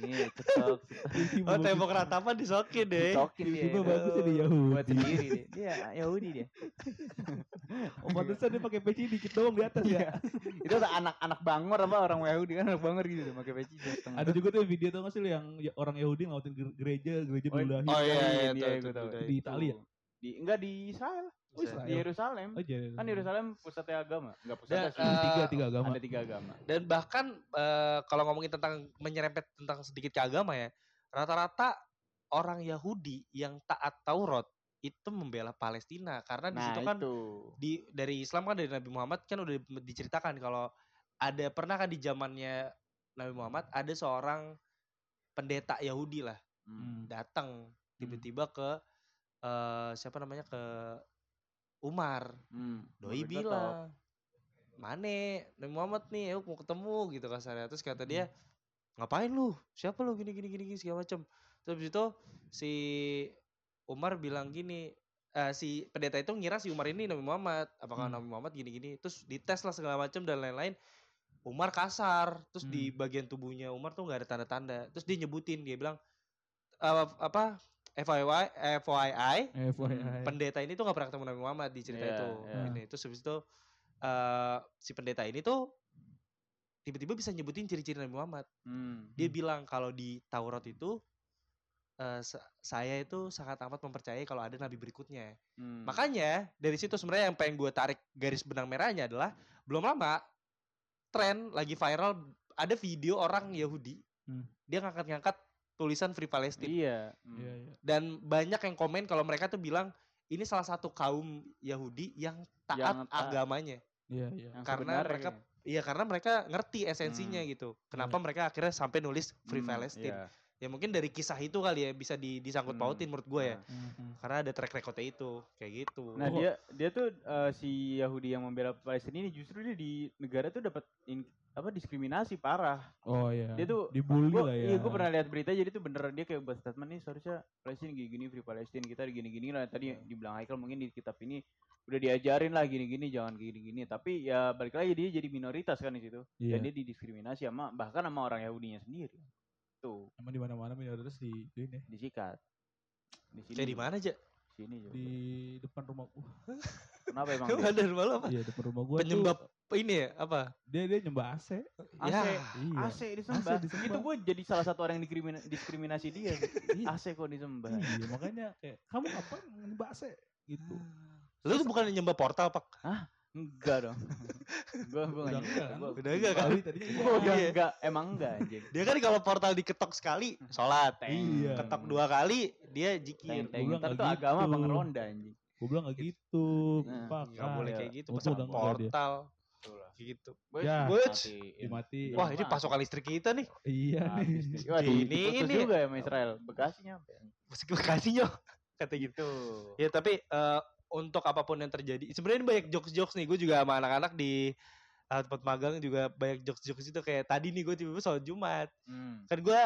[SPEAKER 3] Iya, cetok,
[SPEAKER 2] sih. Oh tembok ratapan disokin deh.
[SPEAKER 3] cetokin dia.
[SPEAKER 1] Eh, tiba-tiba
[SPEAKER 3] ya.
[SPEAKER 1] bagus jadi
[SPEAKER 3] Buat
[SPEAKER 1] Yahudi
[SPEAKER 3] sendiri dia. Dia Yahudi dia.
[SPEAKER 1] oh pantesan dia pakai peci dikit doang di atas
[SPEAKER 3] Iya.
[SPEAKER 1] ya
[SPEAKER 3] Itu anak-anak bangor apa orang Yahudi kan anak bangor gitu pakai peci dua setengah.
[SPEAKER 1] ada juga tuh video tau gak sih lu yang ya- orang Yahudi ngelawatin ger- gereja gereja
[SPEAKER 3] Oh,
[SPEAKER 1] diludahin
[SPEAKER 2] Oh iya iya
[SPEAKER 3] Iya,
[SPEAKER 2] tahu,
[SPEAKER 3] iya, gua
[SPEAKER 2] tahu,
[SPEAKER 3] tahu.
[SPEAKER 2] tahu.
[SPEAKER 1] di Italia
[SPEAKER 3] Di enggak di Israel,
[SPEAKER 1] oh Israel
[SPEAKER 3] di Yerusalem.
[SPEAKER 1] oh iya
[SPEAKER 3] Kan
[SPEAKER 2] Eh,
[SPEAKER 3] Yerusalem pusatnya agama, enggak pusatnya
[SPEAKER 2] Dan,
[SPEAKER 3] sih.
[SPEAKER 2] eh,
[SPEAKER 1] tiga tiga agama
[SPEAKER 3] Ada tiga agama.
[SPEAKER 2] dan bahkan eh, kalau ngomongin tentang menyerempet tentang sedikit ke agama ya rata-rata orang Yahudi yang taat Taurat itu membela Palestina karena di
[SPEAKER 3] Nah,
[SPEAKER 2] situ kan
[SPEAKER 3] itu.
[SPEAKER 2] di dari Islam kan dari Nabi Muhammad kan udah diceritakan kalau ada pernah kan di zamannya Nabi Muhammad ada seorang pendeta Yahudi lah
[SPEAKER 1] Hmm.
[SPEAKER 2] datang tiba-tiba ke eh, siapa namanya ke Umar
[SPEAKER 3] Hmm.
[SPEAKER 2] doi
[SPEAKER 3] Baru cocok.
[SPEAKER 2] bilang Mane Nabi Muhammad nih yuk mau ketemu gitu kasarnya terus kata dia ngapain lu siapa lu gini gini gini, gini segala macam terus habis itu si Umar bilang gini eh, si pendeta itu ngira si Umar ini Nabi Muhammad apakah
[SPEAKER 1] Hmm.
[SPEAKER 2] Nabi Muhammad gini gini terus dites lah segala macam dan lain-lain Umar kasar terus di
[SPEAKER 1] Hmm.
[SPEAKER 2] bagian tubuhnya Umar tuh nggak ada tanda-tanda terus dia nyebutin dia bilang "Eh, apa FYI FYI
[SPEAKER 1] FYI.
[SPEAKER 2] pendeta ini tuh gak pernah ketemu Nabi Muhammad di cerita
[SPEAKER 3] Iya,
[SPEAKER 2] itu.
[SPEAKER 3] iya.
[SPEAKER 2] Ini terus habis itu eh, si pendeta ini tuh tiba-tiba bisa nyebutin ciri-ciri Nabi Muhammad.
[SPEAKER 3] Hmm.
[SPEAKER 2] Dia
[SPEAKER 1] Hmm.
[SPEAKER 2] bilang kalau di Taurat itu eh, sa- saya itu sangat amat mempercayai kalau ada nabi berikutnya.
[SPEAKER 3] Hmm.
[SPEAKER 2] Makanya dari situ sebenarnya yang pengen gue tarik garis benang merahnya adalah belum lama tren lagi viral ada video orang Yahudi
[SPEAKER 1] Hmm.
[SPEAKER 2] dia ngangkat-ngangkat tulisan Free Palestine
[SPEAKER 3] Iya. Hmm.
[SPEAKER 1] Iya, iya.
[SPEAKER 2] dan banyak yang komen kalau mereka tuh bilang ini salah satu kaum Yahudi yang taat
[SPEAKER 3] Yang taat.
[SPEAKER 2] agamanya.
[SPEAKER 1] Iya, iya.
[SPEAKER 3] Yang
[SPEAKER 2] Karena
[SPEAKER 3] sebenarnya
[SPEAKER 2] mereka
[SPEAKER 3] ya.
[SPEAKER 2] Iya karena mereka ngerti esensinya gitu. Kenapa mereka akhirnya sampai nulis Free
[SPEAKER 3] Hmm,
[SPEAKER 2] Palestine?
[SPEAKER 3] iya.
[SPEAKER 2] Ya mungkin dari kisah itu kali ya bisa di- disangkut
[SPEAKER 3] Hmm.
[SPEAKER 2] pautin menurut gue ya.
[SPEAKER 3] Nah.
[SPEAKER 1] Hmm.
[SPEAKER 2] Karena ada track recordnya itu kayak gitu.
[SPEAKER 3] Nah
[SPEAKER 1] Oh.
[SPEAKER 3] dia dia tuh eh, si Yahudi yang membela Palestina ini justru dia di negara tuh dapat in- apa diskriminasi parah.
[SPEAKER 1] Oh iya.
[SPEAKER 3] Dia tuh-
[SPEAKER 1] dibully
[SPEAKER 3] Gua-
[SPEAKER 1] lah ya.
[SPEAKER 3] Iya gue pernah lihat berita jadi tuh beneran dia kayak buat statement nih seharusnya Palestina gini-gini free Palestina kita gini-gini lah tadi
[SPEAKER 1] Iya.
[SPEAKER 3] dibilang Haikal mungkin di kitab ini udah diajarin lah gini-gini jangan gini-gini tapi ya balik lagi dia jadi minoritas kan di situ
[SPEAKER 1] Iya.
[SPEAKER 3] dan dia didiskriminasi sama bahkan sama orang Yahudinya sendiri tuh
[SPEAKER 1] Emang di mana-mana minoritas di di ini
[SPEAKER 3] disikat di sini
[SPEAKER 2] Kayak di mana aja?
[SPEAKER 3] sini juga.
[SPEAKER 1] di depan rumah gua.
[SPEAKER 3] kenapa emang
[SPEAKER 2] Lu ada rumah lu apa?
[SPEAKER 1] Iya, depan rumah gua. tuh,
[SPEAKER 2] Penyembab ini ya apa?
[SPEAKER 1] dia dia nyembah AC.
[SPEAKER 2] Ya.
[SPEAKER 3] AC
[SPEAKER 1] Iya.
[SPEAKER 3] AC disembah
[SPEAKER 1] AC disembah.
[SPEAKER 3] itu gue jadi salah satu orang yang diskrimin- diskriminasi dia
[SPEAKER 1] Iya.
[SPEAKER 3] AC kok disembah
[SPEAKER 1] Iya, makanya kayak kamu ngapain nyembah AC gitu.
[SPEAKER 2] Ah. Lu tuh bukan nyembah portal pak?
[SPEAKER 3] enggak dong gue gue
[SPEAKER 1] Udah enggak
[SPEAKER 3] nggak
[SPEAKER 1] kan?
[SPEAKER 3] nyembah. Gua-
[SPEAKER 2] Udah enggak kan?
[SPEAKER 1] Kali tadinya iya.
[SPEAKER 3] Gua udah
[SPEAKER 2] Iya.
[SPEAKER 3] enggak, emang enggak anjing.
[SPEAKER 2] Dia kan kalau portal diketok sekali sholat,
[SPEAKER 1] Iya.
[SPEAKER 2] ketok dua kali dia jikir.
[SPEAKER 3] Teng teng.
[SPEAKER 1] Gua
[SPEAKER 3] Ntar
[SPEAKER 1] nggak
[SPEAKER 3] tuh
[SPEAKER 1] gitu.
[SPEAKER 3] agama pengeronda anjing.
[SPEAKER 1] Gua bilang gak gitu.
[SPEAKER 3] Nah,
[SPEAKER 1] Pak.
[SPEAKER 2] Gak boleh
[SPEAKER 1] Ah,
[SPEAKER 2] kayak gitu
[SPEAKER 1] Gua
[SPEAKER 2] pasang
[SPEAKER 1] udah enggak dia.
[SPEAKER 2] portal kayak gitu.
[SPEAKER 1] Ya.
[SPEAKER 2] Wuts.
[SPEAKER 1] Dimati.
[SPEAKER 3] Iya.
[SPEAKER 2] Wah ini pasokan listrik kita nih.
[SPEAKER 1] Iya nih.
[SPEAKER 2] Ini,
[SPEAKER 3] ini
[SPEAKER 2] ini.
[SPEAKER 3] ini juga ya sama Israel. Bekasnya.
[SPEAKER 2] Meski makasih nyok kata gitu.
[SPEAKER 3] Gitu.
[SPEAKER 2] Ya tapi eh, untuk apapun yang terjadi, sebenarnya ini banyak jokes-jokes nih. Gue juga sama anak-anak di eh, tempat magang juga banyak jokes-jokes itu kayak tadi nih gue tiba-tiba soal Jumat.
[SPEAKER 3] Hmm.
[SPEAKER 2] Kan gue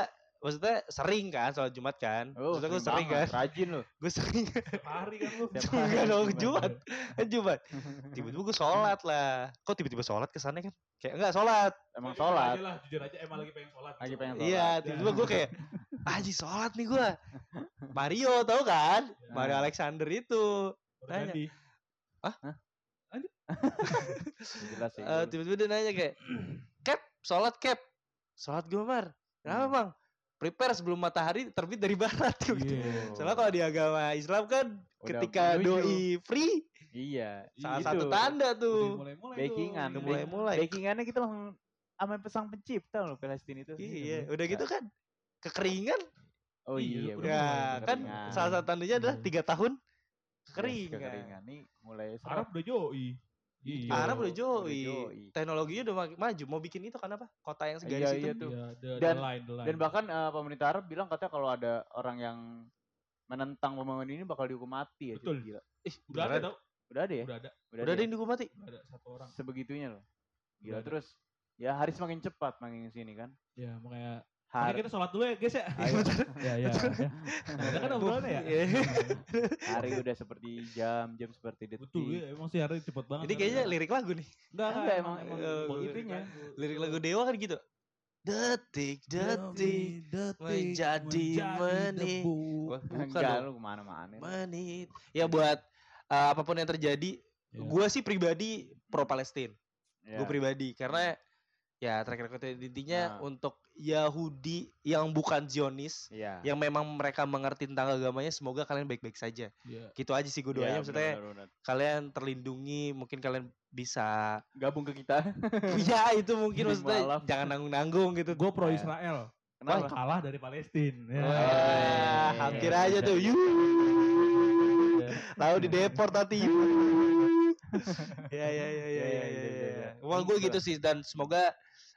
[SPEAKER 2] maksudnya sering kan soal Jumat kan.
[SPEAKER 3] Oh,
[SPEAKER 2] maksudnya gue sering
[SPEAKER 3] sering banget.
[SPEAKER 2] kan.
[SPEAKER 3] Rajin lu.
[SPEAKER 2] Gue sering
[SPEAKER 1] Hari kan lu.
[SPEAKER 3] Tiap
[SPEAKER 2] Juga
[SPEAKER 3] hari
[SPEAKER 2] dong,
[SPEAKER 3] Jumat.
[SPEAKER 2] Jumat. Jumat. Tiba-tiba gue sholat lah. Kok tiba-tiba sholat kesannya kan? Kayak enggak sholat.
[SPEAKER 3] Emang sholat.
[SPEAKER 1] Jujur aja lah, jujur aja emang lagi pengen sholat.
[SPEAKER 3] Lagi pengen sholat. ya.
[SPEAKER 2] Iya, tiba-tiba gue kayak Aji sholat nih gue. Mario tau kan?
[SPEAKER 3] Iya.
[SPEAKER 2] Mario Alexander itu.
[SPEAKER 1] Udah ganti.
[SPEAKER 3] Jelas sih.
[SPEAKER 2] Eh, tiba-tiba dia nanya kayak cap sholat cap sholat gue mar kenapa
[SPEAKER 3] Hmm.
[SPEAKER 2] bang prepare sebelum matahari terbit dari barat gitu
[SPEAKER 1] Iya.
[SPEAKER 2] soalnya kalau di agama Islam kan
[SPEAKER 3] Udah
[SPEAKER 2] ketika
[SPEAKER 3] menuju.
[SPEAKER 2] doi free
[SPEAKER 3] Iya.
[SPEAKER 2] salah
[SPEAKER 3] itu.
[SPEAKER 2] satu tanda
[SPEAKER 1] Udah
[SPEAKER 2] tuh
[SPEAKER 1] mulai-mulai tuh.
[SPEAKER 3] Bakingan.
[SPEAKER 2] Udah mulai-mulai.
[SPEAKER 3] Bakingannya kita langsung sama pesang pencipta loh Palestina itu.
[SPEAKER 2] iya udah gitu kan kekeringan
[SPEAKER 3] Oh
[SPEAKER 1] Iya,
[SPEAKER 3] iya. bener.
[SPEAKER 1] udah
[SPEAKER 2] ya
[SPEAKER 1] mulai
[SPEAKER 2] kan
[SPEAKER 3] kekeringan.
[SPEAKER 2] salah satu tandanya adalah
[SPEAKER 1] Hmm.
[SPEAKER 2] tiga tahun
[SPEAKER 3] Yes,
[SPEAKER 2] kekeringan,
[SPEAKER 3] Kekeringan nih mulai
[SPEAKER 1] kan? Arab
[SPEAKER 3] serap.
[SPEAKER 1] udah joi. Iya.
[SPEAKER 2] Arab
[SPEAKER 3] Iya,
[SPEAKER 2] udah joi.
[SPEAKER 3] udah joi.
[SPEAKER 2] Teknologinya udah ma- maju. Mau bikin itu kan apa? Kota yang segaris
[SPEAKER 3] Iya,
[SPEAKER 2] itu.
[SPEAKER 3] iya tuh.
[SPEAKER 1] Iya, the, the
[SPEAKER 3] Dan-
[SPEAKER 1] line, the line.
[SPEAKER 3] Dan bahkan eh, pemerintah Arab bilang katanya kalau ada orang yang menentang pembangunan ini bakal dihukum mati ya. cuy.
[SPEAKER 1] Betul.
[SPEAKER 3] Gila.
[SPEAKER 1] Ih, udah ada tau.
[SPEAKER 3] Udah ada ya?
[SPEAKER 1] Udah ada.
[SPEAKER 2] Udah ada
[SPEAKER 3] ya?
[SPEAKER 2] yang dihukum mati.
[SPEAKER 1] Udah ada satu orang.
[SPEAKER 3] Sebegitunya loh. Gila
[SPEAKER 1] Udah ada.
[SPEAKER 3] terus ya hari semakin cepat makin sini kan.
[SPEAKER 1] Ya, makanya. Ini
[SPEAKER 3] Hari
[SPEAKER 1] kita sholat dulu ya guys ya.
[SPEAKER 3] Ayo.
[SPEAKER 1] ya, ya. ya. Kita kan obrolannya ya.
[SPEAKER 2] Iya.
[SPEAKER 3] hari udah seperti jam, jam seperti detik.
[SPEAKER 1] Betul Kan ya, emang sih hari cepet banget.
[SPEAKER 2] Ini
[SPEAKER 3] Hmm,
[SPEAKER 2] kayaknya lirik lagu nih.
[SPEAKER 1] enggak,
[SPEAKER 3] Enggak, emang- eh, emang
[SPEAKER 1] lirik
[SPEAKER 3] itunya.
[SPEAKER 1] lagu.
[SPEAKER 2] Lirik lagu Dewa kan gitu. Detik, detik, menjadi menit.
[SPEAKER 1] debu.
[SPEAKER 2] Wah, bukan
[SPEAKER 3] Enggak
[SPEAKER 2] dong.
[SPEAKER 3] lu kemana-mana.
[SPEAKER 2] menit. Ya buat eh, apapun yang terjadi,
[SPEAKER 1] Ya.
[SPEAKER 2] gue sih pribadi pro Palestina.
[SPEAKER 3] Ya.
[SPEAKER 2] Gue pribadi karena ya track record intinya
[SPEAKER 3] Nah.
[SPEAKER 2] untuk Yahudi yang bukan Zionis,
[SPEAKER 3] Iya.
[SPEAKER 2] yang memang mereka mengerti tentang agamanya, semoga kalian baik-baik saja.
[SPEAKER 1] Iya.
[SPEAKER 2] Gitu aja sih gue
[SPEAKER 3] Iya,
[SPEAKER 2] doanya. maksudnya
[SPEAKER 3] benar-benar.
[SPEAKER 2] kalian terlindungi, mungkin kalian bisa.
[SPEAKER 3] gabung ke kita.
[SPEAKER 2] ya itu mungkin
[SPEAKER 3] Jadi
[SPEAKER 2] maksudnya
[SPEAKER 3] mualaf.
[SPEAKER 2] jangan nanggung-nanggung gitu.
[SPEAKER 1] Gue pro Israel,
[SPEAKER 3] Kenapa?
[SPEAKER 1] kalah dari Palestina. Ya.
[SPEAKER 2] Iya,
[SPEAKER 1] ya.
[SPEAKER 2] Wah,
[SPEAKER 3] Wey.
[SPEAKER 2] hampir aja tuh. Yuh. Tahu di deport nanti. Yuh. ya ya ya ya ya ya. ya, ya. Wah, gue gitu sih dan semoga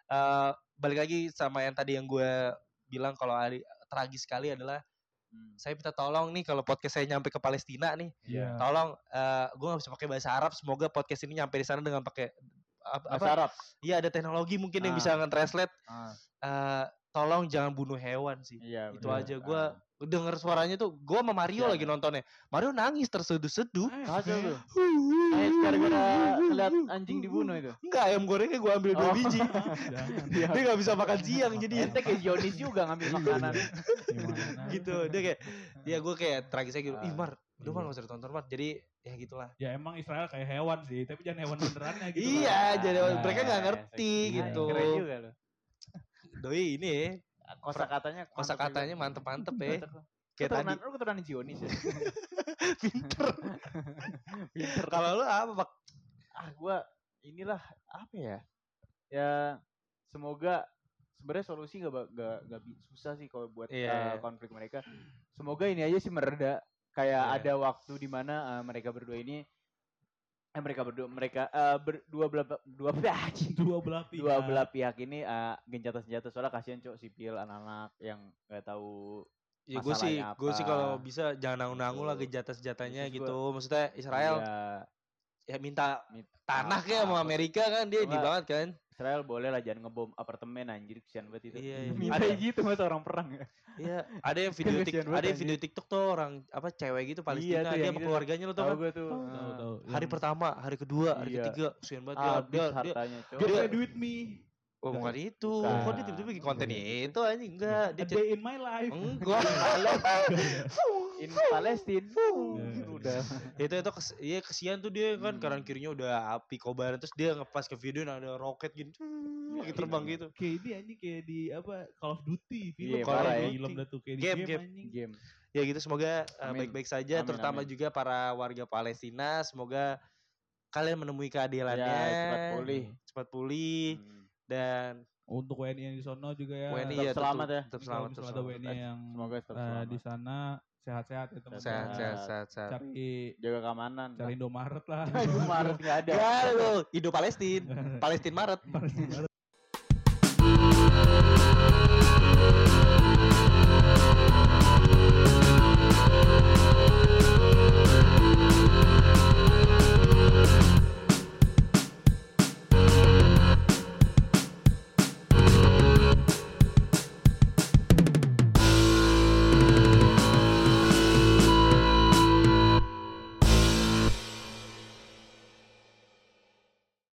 [SPEAKER 2] eh, balik lagi sama yang tadi yang gue bilang kalau Ali- tragis sekali adalah
[SPEAKER 3] Hmm.
[SPEAKER 2] saya minta tolong nih kalau podcast saya nyampe ke Palestina nih
[SPEAKER 1] Iya.
[SPEAKER 2] tolong eh gue nggak bisa pakai bahasa Arab semoga podcast ini nyampe di sana dengan pakai ap-
[SPEAKER 3] Bahasa
[SPEAKER 2] apa
[SPEAKER 3] Arab.
[SPEAKER 2] iya ada teknologi mungkin yang
[SPEAKER 3] Ah.
[SPEAKER 2] bisa nge-translate
[SPEAKER 3] Ah,
[SPEAKER 2] Eh, tolong jangan bunuh hewan sih
[SPEAKER 3] iya,
[SPEAKER 2] Itu
[SPEAKER 3] bener.
[SPEAKER 2] aja, gua denger suaranya tuh gue sama Mario
[SPEAKER 3] Iya.
[SPEAKER 2] lagi nontonnya Mario nangis terseduh-seduh
[SPEAKER 1] Eh,
[SPEAKER 3] Ah, kacau tuh.
[SPEAKER 2] nangis
[SPEAKER 3] Nangis gara-gara lihat anjing dibunuh itu.
[SPEAKER 2] enggak ayam gorengnya gue ambil dua
[SPEAKER 3] Oh. Nah,
[SPEAKER 2] biji
[SPEAKER 1] Jangan.
[SPEAKER 3] Iya.
[SPEAKER 2] dia nggak bisa makan Iya. siang jadi
[SPEAKER 3] Ente kayak Zionis juga ngambil makanan. nah,
[SPEAKER 1] Gimana?
[SPEAKER 2] gitu dia kayak ya gue kayak tragisnya
[SPEAKER 3] Ah,
[SPEAKER 2] gitu ih Mar udah Mar
[SPEAKER 1] Iya.
[SPEAKER 2] nggak usah ditonton Mar jadi ya
[SPEAKER 3] Gitu
[SPEAKER 2] gitulah
[SPEAKER 1] Ya emang Israel kayak hewan sih, tapi jangan hewan benerannya gitu.
[SPEAKER 2] iya
[SPEAKER 1] Bang.
[SPEAKER 2] jadi
[SPEAKER 1] Nah,
[SPEAKER 2] mereka nggak
[SPEAKER 3] ya,
[SPEAKER 2] ngerti
[SPEAKER 1] ya,
[SPEAKER 2] gitu
[SPEAKER 3] Keren juga loh.
[SPEAKER 2] doi ini ya,
[SPEAKER 3] Kosa katanya
[SPEAKER 2] kosa katanya mantep-mantep ya kayak tadi
[SPEAKER 3] Keturunan lu keturunan Zionis ya.
[SPEAKER 2] pinter
[SPEAKER 3] Pinter.
[SPEAKER 2] kalau lu apa Pak?
[SPEAKER 3] ah gua inilah apa ya ya semoga sebenarnya solusi nggak ba- nggak nggak bi- susah sih kalau buat
[SPEAKER 2] Iya,
[SPEAKER 3] eh,
[SPEAKER 2] iya.
[SPEAKER 3] konflik mereka semoga ini aja sih mereda
[SPEAKER 2] Iya.
[SPEAKER 3] kayak ada waktu di mana eh, mereka berdua ini eh mereka berdua mereka eh, berdua belah dua belah
[SPEAKER 1] dua belah pihak. Iya,
[SPEAKER 3] dua belah pihak ini eh, gencatan senjata soalnya kasihan cok sipil anak-anak yang nggak tahu
[SPEAKER 2] Ya gue sih,
[SPEAKER 3] Masalahnya
[SPEAKER 2] gue sih
[SPEAKER 3] apa?
[SPEAKER 2] kalau bisa jangan nanggung-nanggung lah ke
[SPEAKER 3] Gitu.
[SPEAKER 2] jatah-jatahnya
[SPEAKER 3] Maksud
[SPEAKER 2] gitu. Maksudnya Israel
[SPEAKER 3] Iya,
[SPEAKER 2] ya minta
[SPEAKER 3] Minta
[SPEAKER 2] tanah kayak sama
[SPEAKER 3] apa.
[SPEAKER 2] Amerika kan dia di
[SPEAKER 3] Coba.
[SPEAKER 2] banget kan.
[SPEAKER 3] Israel boleh lah jangan ngebom apartemen anjir kesian banget itu
[SPEAKER 2] Iya, iya.
[SPEAKER 3] Minta
[SPEAKER 2] Ada-
[SPEAKER 3] gitu mas orang perang ya
[SPEAKER 2] Iya, ada yang video
[SPEAKER 3] Kasihan
[SPEAKER 2] tik,
[SPEAKER 3] banget
[SPEAKER 2] ada yang
[SPEAKER 3] anjing.
[SPEAKER 2] video TikTok tuh orang apa cewek gitu Palestina dia
[SPEAKER 3] tuh yang
[SPEAKER 2] sama
[SPEAKER 3] itu.
[SPEAKER 2] keluarganya lo tau
[SPEAKER 3] tahu
[SPEAKER 2] kan.
[SPEAKER 3] gue tuh
[SPEAKER 1] Tahu, Hmm.
[SPEAKER 3] eh.
[SPEAKER 1] tahu.
[SPEAKER 2] Hari
[SPEAKER 1] Yang,
[SPEAKER 2] pertama, hari kedua, hari
[SPEAKER 3] Iya.
[SPEAKER 2] ketiga, kesian banget Ah, dia,
[SPEAKER 3] habis
[SPEAKER 2] dia, dia,
[SPEAKER 3] hartanya cok.
[SPEAKER 1] Get
[SPEAKER 2] Dia-
[SPEAKER 1] ready with me.
[SPEAKER 2] oh, bukan itu, kok dia tiba-tiba bikin konten
[SPEAKER 1] Bukan. Iya.
[SPEAKER 2] itu anjing enggak, dia
[SPEAKER 1] A
[SPEAKER 2] cer-
[SPEAKER 1] day in my life.
[SPEAKER 2] enggak,
[SPEAKER 3] in Palestin
[SPEAKER 1] Iya.
[SPEAKER 3] udah
[SPEAKER 2] itu itu kes, iya kesian tuh dia kan
[SPEAKER 3] Hmm.
[SPEAKER 2] kanan kirinya udah api kobaran terus dia ngepas ke video nah ada roket gini,
[SPEAKER 1] Iya,
[SPEAKER 2] lagi terbang
[SPEAKER 3] iya.
[SPEAKER 2] gitu.
[SPEAKER 1] Kayak ini anjing kayak di apa Call of Duty
[SPEAKER 3] Iya,
[SPEAKER 1] film
[SPEAKER 3] parah
[SPEAKER 1] Call of
[SPEAKER 3] ya.
[SPEAKER 1] Duty, film dah tuh kayak di
[SPEAKER 2] Game,
[SPEAKER 1] game,
[SPEAKER 2] game.
[SPEAKER 1] anjing.
[SPEAKER 3] game
[SPEAKER 2] ya gitu semoga uh,
[SPEAKER 3] Amin.
[SPEAKER 2] baik-baik saja
[SPEAKER 3] Amin,
[SPEAKER 2] terutama
[SPEAKER 3] amin.
[SPEAKER 2] juga para warga Palestina semoga kalian menemui keadilannya
[SPEAKER 3] Ya, cepat pulih. Hmm.
[SPEAKER 2] cepat pulih, dan
[SPEAKER 1] Untuk WNI yang di sono juga ya.
[SPEAKER 2] WNI
[SPEAKER 3] tetap
[SPEAKER 2] ya tentu-
[SPEAKER 3] selamat ya.
[SPEAKER 2] tetap
[SPEAKER 1] Kalau
[SPEAKER 2] selamat
[SPEAKER 1] misalnya ada
[SPEAKER 2] tetap selamat
[SPEAKER 1] WNI yang
[SPEAKER 3] semoga tetap
[SPEAKER 1] eh,
[SPEAKER 3] selamat
[SPEAKER 1] di sana sehat-sehat ya teman-teman.
[SPEAKER 2] sehat sehat sehat sehat
[SPEAKER 1] Cari
[SPEAKER 3] jaga keamanan
[SPEAKER 1] cari Indomaret lah.
[SPEAKER 3] Aduh, Maret nggak ada
[SPEAKER 2] ya lo Indo Palestin Palestin Maret